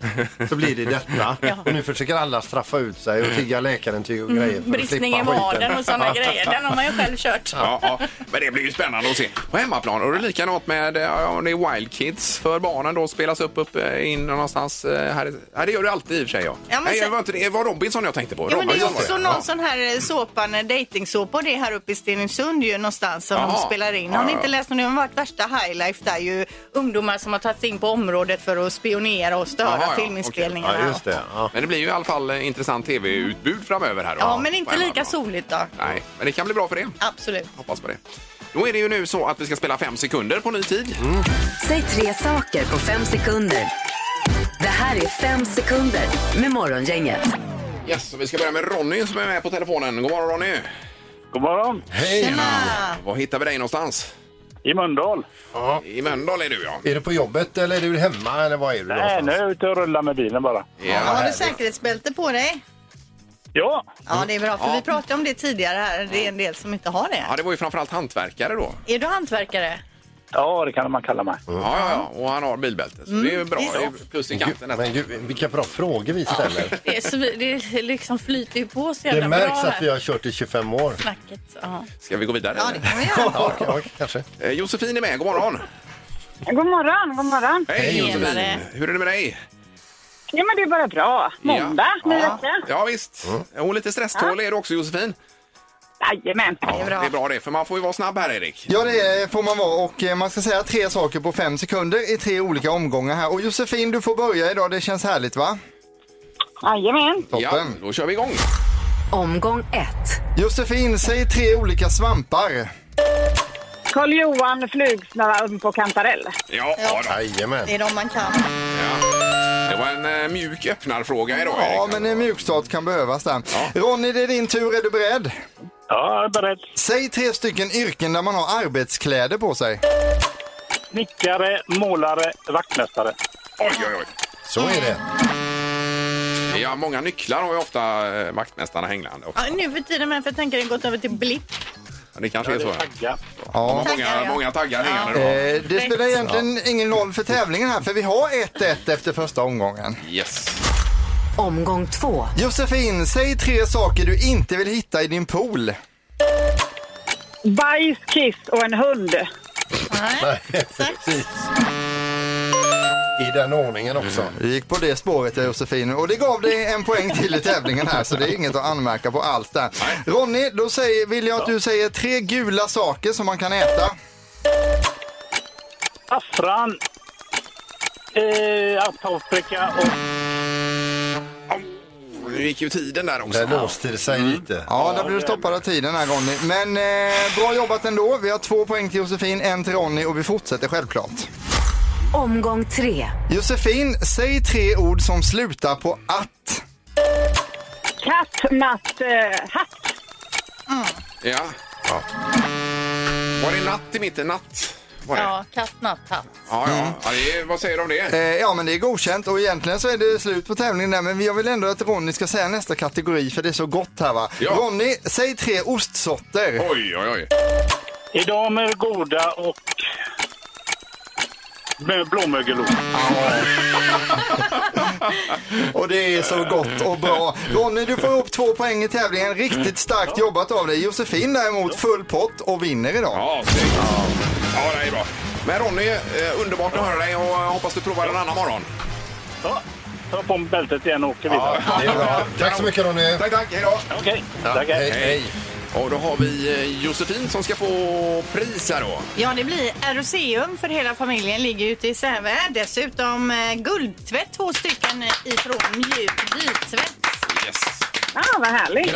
[SPEAKER 4] Så blir det
[SPEAKER 3] [LAUGHS]
[SPEAKER 4] detta. Och nu försöker alla straffa ut sig och tigga läkarintyg och
[SPEAKER 3] Mm,
[SPEAKER 4] grejer. för att
[SPEAKER 3] bristning
[SPEAKER 4] slippa
[SPEAKER 3] i
[SPEAKER 4] skiten.
[SPEAKER 3] vaden och sådana grejer. Den har man ju själv kört.
[SPEAKER 2] Ja, ja, men det blir ju spännande att se. På hemmaplan och det är likadant med eh, ja, om det är Wild Kids för barnen då spelas upp, upp eh, in någonstans. eh, Här, här det gör det alltid i och för sig. Ja.
[SPEAKER 3] Ja, men
[SPEAKER 2] Nej, det
[SPEAKER 3] sen-
[SPEAKER 2] var inte det. Det var Robinson jag tänkte på.
[SPEAKER 3] Ja, men det är
[SPEAKER 2] Robinson var
[SPEAKER 3] också
[SPEAKER 2] det.
[SPEAKER 3] någon
[SPEAKER 2] Ja.
[SPEAKER 3] sån här eh, såpan, eh, dejtingsåpa och det är här uppe i Stenungsund ju någonstans som
[SPEAKER 2] Jaha.
[SPEAKER 3] de spelar in.
[SPEAKER 2] Ja,
[SPEAKER 3] Har ni
[SPEAKER 2] ja,
[SPEAKER 3] inte
[SPEAKER 2] ja.
[SPEAKER 3] läst om det? Det har varit värsta highlife där ju ungdomar som har tagit sig in på området för att spionera och störa
[SPEAKER 2] Jaha, ja,
[SPEAKER 3] filminspelningarna.
[SPEAKER 2] okej. Men det blir ju i alla fall eh, intressant tv-utbud framöver här. då.
[SPEAKER 3] Ja, men
[SPEAKER 2] På
[SPEAKER 3] inte
[SPEAKER 2] hemmaplan.
[SPEAKER 3] lika soligt då.
[SPEAKER 2] Nej, men det kan bli bra för det.
[SPEAKER 3] Absolut.
[SPEAKER 2] Hoppas på det. Då är det ju nu så att vi ska spela fem sekunder på ny tid.
[SPEAKER 1] Säg tre saker på fem sekunder. Det här är fem sekunder med Morgongänget.
[SPEAKER 2] Yes, och vi ska börja med Ronny som är med på telefonen. God morgon Ronny! God morgon! Hej! Var hittar vi dig någonstans? I Mölndal. I Mölndal är du ja.
[SPEAKER 4] Är du på jobbet eller är du hemma eller vad är du
[SPEAKER 2] Nej,
[SPEAKER 4] nu är jag ute och rullar med bilen bara.
[SPEAKER 3] Har du säkerhetsbälte på dig?
[SPEAKER 2] Ja!
[SPEAKER 3] Ja, det är bra. För
[SPEAKER 2] Ja.
[SPEAKER 3] vi pratade om det tidigare här. Det är en del som inte har det.
[SPEAKER 2] Ja, det var ju framförallt hantverkare då.
[SPEAKER 4] Mm.
[SPEAKER 3] Är du hantverkare?
[SPEAKER 2] Ja, det kan man kalla mig. Ja, ja, ja. och han har bilbälte. Så Mm, det är ju bra. Det är ju plus i kanten.
[SPEAKER 4] Men gud, vilka bra frågor vi
[SPEAKER 12] [LAUGHS]
[SPEAKER 4] ställer.
[SPEAKER 5] Det, är så, det liksom flyter ju på så jävla
[SPEAKER 4] Det märks
[SPEAKER 5] bra
[SPEAKER 4] att vi har kört i 25
[SPEAKER 12] [LAUGHS]
[SPEAKER 4] år.
[SPEAKER 5] Snacket, ja.
[SPEAKER 2] Ska vi gå vidare?
[SPEAKER 5] Ja,
[SPEAKER 2] det
[SPEAKER 3] kan vi
[SPEAKER 4] Ja, kanske.
[SPEAKER 2] Josefin är med. God morgon!
[SPEAKER 6] God morgon, god morgon.
[SPEAKER 2] Hej Josefin! Hur är det med dig?
[SPEAKER 6] Ja, men det är bara bra. Måndag,
[SPEAKER 2] ja.
[SPEAKER 6] ny
[SPEAKER 2] ja.
[SPEAKER 6] vecka.
[SPEAKER 2] ja visst.
[SPEAKER 4] Mm.
[SPEAKER 2] Och lite stresstålig är du också Josefin.
[SPEAKER 6] Jajamän.
[SPEAKER 2] Ja, det är bra det, för man får ju vara snabb här Erik.
[SPEAKER 12] Ja det är- får man vara och eh, man ska säga tre saker på fem sekunder i tre olika omgångar här. Och Josefin du får börja idag, det känns härligt va?
[SPEAKER 6] Jajamän.
[SPEAKER 2] Ja, då kör vi igång.
[SPEAKER 12] Omgång ett. Josefin, säg tre olika svampar.
[SPEAKER 6] Karl Johan, flugsnurra på kantarell.
[SPEAKER 2] Ja, ja. Jajamän.
[SPEAKER 3] Det är de man kan.
[SPEAKER 2] Det var en eh, mjuk öppnarfråga idag Erik.
[SPEAKER 12] Ja men en mjukstart kan behövas där. Ronny det är din tur, är du beredd? Ja, jag är beredd. Säg tre stycken yrken där man har arbetskläder på sig.
[SPEAKER 13] Snickare, målare, vaktmästare.
[SPEAKER 2] Oj, oj, oj.
[SPEAKER 4] Så är det.
[SPEAKER 2] Ja, många nycklar har ju ofta eh, vaktmästarna hängande. också.
[SPEAKER 3] Ja, nu för tiden, men för jag tänker det gått över till blipp.
[SPEAKER 2] Ja, Det kanske är så. Ja.
[SPEAKER 12] Ja.
[SPEAKER 2] Många, många taggar hängande
[SPEAKER 12] Eh,
[SPEAKER 2] då.
[SPEAKER 12] det spelar egentligen ingen roll för tävlingen här för vi har 1-1 efter första omgången.
[SPEAKER 2] Yes.
[SPEAKER 12] Omgång två. Josefin, säg tre saker du inte vill hitta i din pool.
[SPEAKER 6] Bajs, kiss och en hund.
[SPEAKER 4] Nej, precis. I den ordningen också.
[SPEAKER 12] Vi gick på det spåret ja, Josefin och det gav dig en poäng till i tävlingen här så det är inget att anmärka på alls där. Ronny, då säger, vill jag att du säger tre gula saker som man kan äta.
[SPEAKER 13] Affran, eh, Afrika och...
[SPEAKER 2] Nu gick ju tiden där också.
[SPEAKER 4] Det låste sig lite.
[SPEAKER 12] Mm. Ja, där blev du stoppad av tiden här Ronny. Men eh, bra jobbat ändå. Vi har två poäng till Josefin, en till Ronny och vi fortsätter självklart.
[SPEAKER 1] Omgång tre.
[SPEAKER 12] Josefin, säg tre ord som slutar på att.
[SPEAKER 6] Katt, natt, eh, hatt.
[SPEAKER 2] Ja. Var det natt i mitten? Natt? Var det?
[SPEAKER 3] Ja, katt, natt, hatt.
[SPEAKER 2] Ja, ja. ja det är, vad säger du om
[SPEAKER 12] Eh,
[SPEAKER 2] det?
[SPEAKER 12] ja, men det är godkänt och egentligen så är det slut på tävlingen där. Men jag vill ändå att Ronny ska säga nästa kategori för det är så gott här va.
[SPEAKER 2] Ja.
[SPEAKER 12] Ronny, säg tre ostsorter.
[SPEAKER 2] Oj, oj, oj.
[SPEAKER 13] Är de eh, goda och... Med blåmögelost.
[SPEAKER 12] Och det är så gott och bra. Ronny, du får ihop två poäng i tävlingen. Riktigt starkt jobbat av dig. Josefin däremot full pott och vinner idag.
[SPEAKER 2] Ja, snyggt. Ja, det är eh, bra. Men Ronny, eh, underbart att höra dig och hoppas du provar en annan morgon.
[SPEAKER 13] Ta på mig bältet igen och åker vidare.
[SPEAKER 4] det är bra. Tack så mycket Ronny.
[SPEAKER 13] Tack, tack. Hej då. Okej, tack.
[SPEAKER 2] hej. hej. Och då har vi eh, Josefin som ska få pris här då.
[SPEAKER 3] Ja, det blir Aroseum för hela familjen. Ligger ute i Säve. Dessutom eh, guldtvätt, två stycken eh, ifrån Mjuk Biltvätt.
[SPEAKER 2] Yes.
[SPEAKER 6] Ah, vad härligt.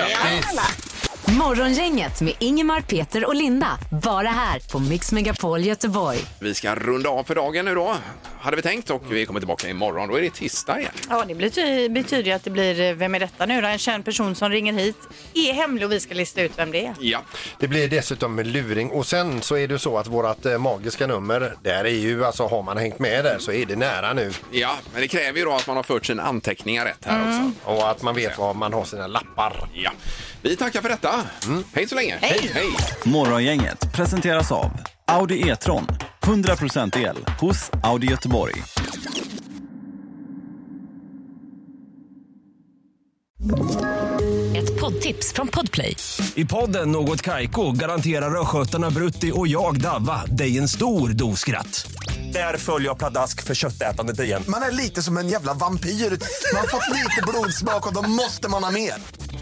[SPEAKER 1] Morgongänget med Ingemar, Peter och Linda. Bara här på Mix Megapol Göteborg.
[SPEAKER 2] Vi ska runda av för dagen nu då, hade vi tänkt. Och vi kommer tillbaka imorgon. Då är det tisdag igen.
[SPEAKER 3] Ja, det blir- betyder ju att det blir eh, Vem är detta nu då? En känd person som ringer hit. Är hemlig och vi ska lista ut vem det är.
[SPEAKER 2] Ja.
[SPEAKER 4] Det blir dessutom en luring och sen så är det så att vårat eh, magiska nummer, där är ju alltså har man hängt med där så är det nära nu.
[SPEAKER 2] Ja, men det kräver ju då att man har fört sina anteckningar rätt här också.
[SPEAKER 4] Och att man vet var man har sina lappar.
[SPEAKER 2] Ja. Vi tackar för detta. Mm. Hej så länge.
[SPEAKER 3] Hej.
[SPEAKER 2] Hej.
[SPEAKER 14] Morgongänget presenteras av Audi E-tron. 100% el hos Audi Göteborg.
[SPEAKER 15] Ett poddtips från Podplay.
[SPEAKER 16] I podden Något Kaiko garanterar östgötarna Brutti och jag, Davva, dig en stor dos skratt. Där följer jag pladask för köttätandet igen.
[SPEAKER 17] Man är lite som en jävla vampyr. Man har fått lite blodsmak och då måste man ha mer.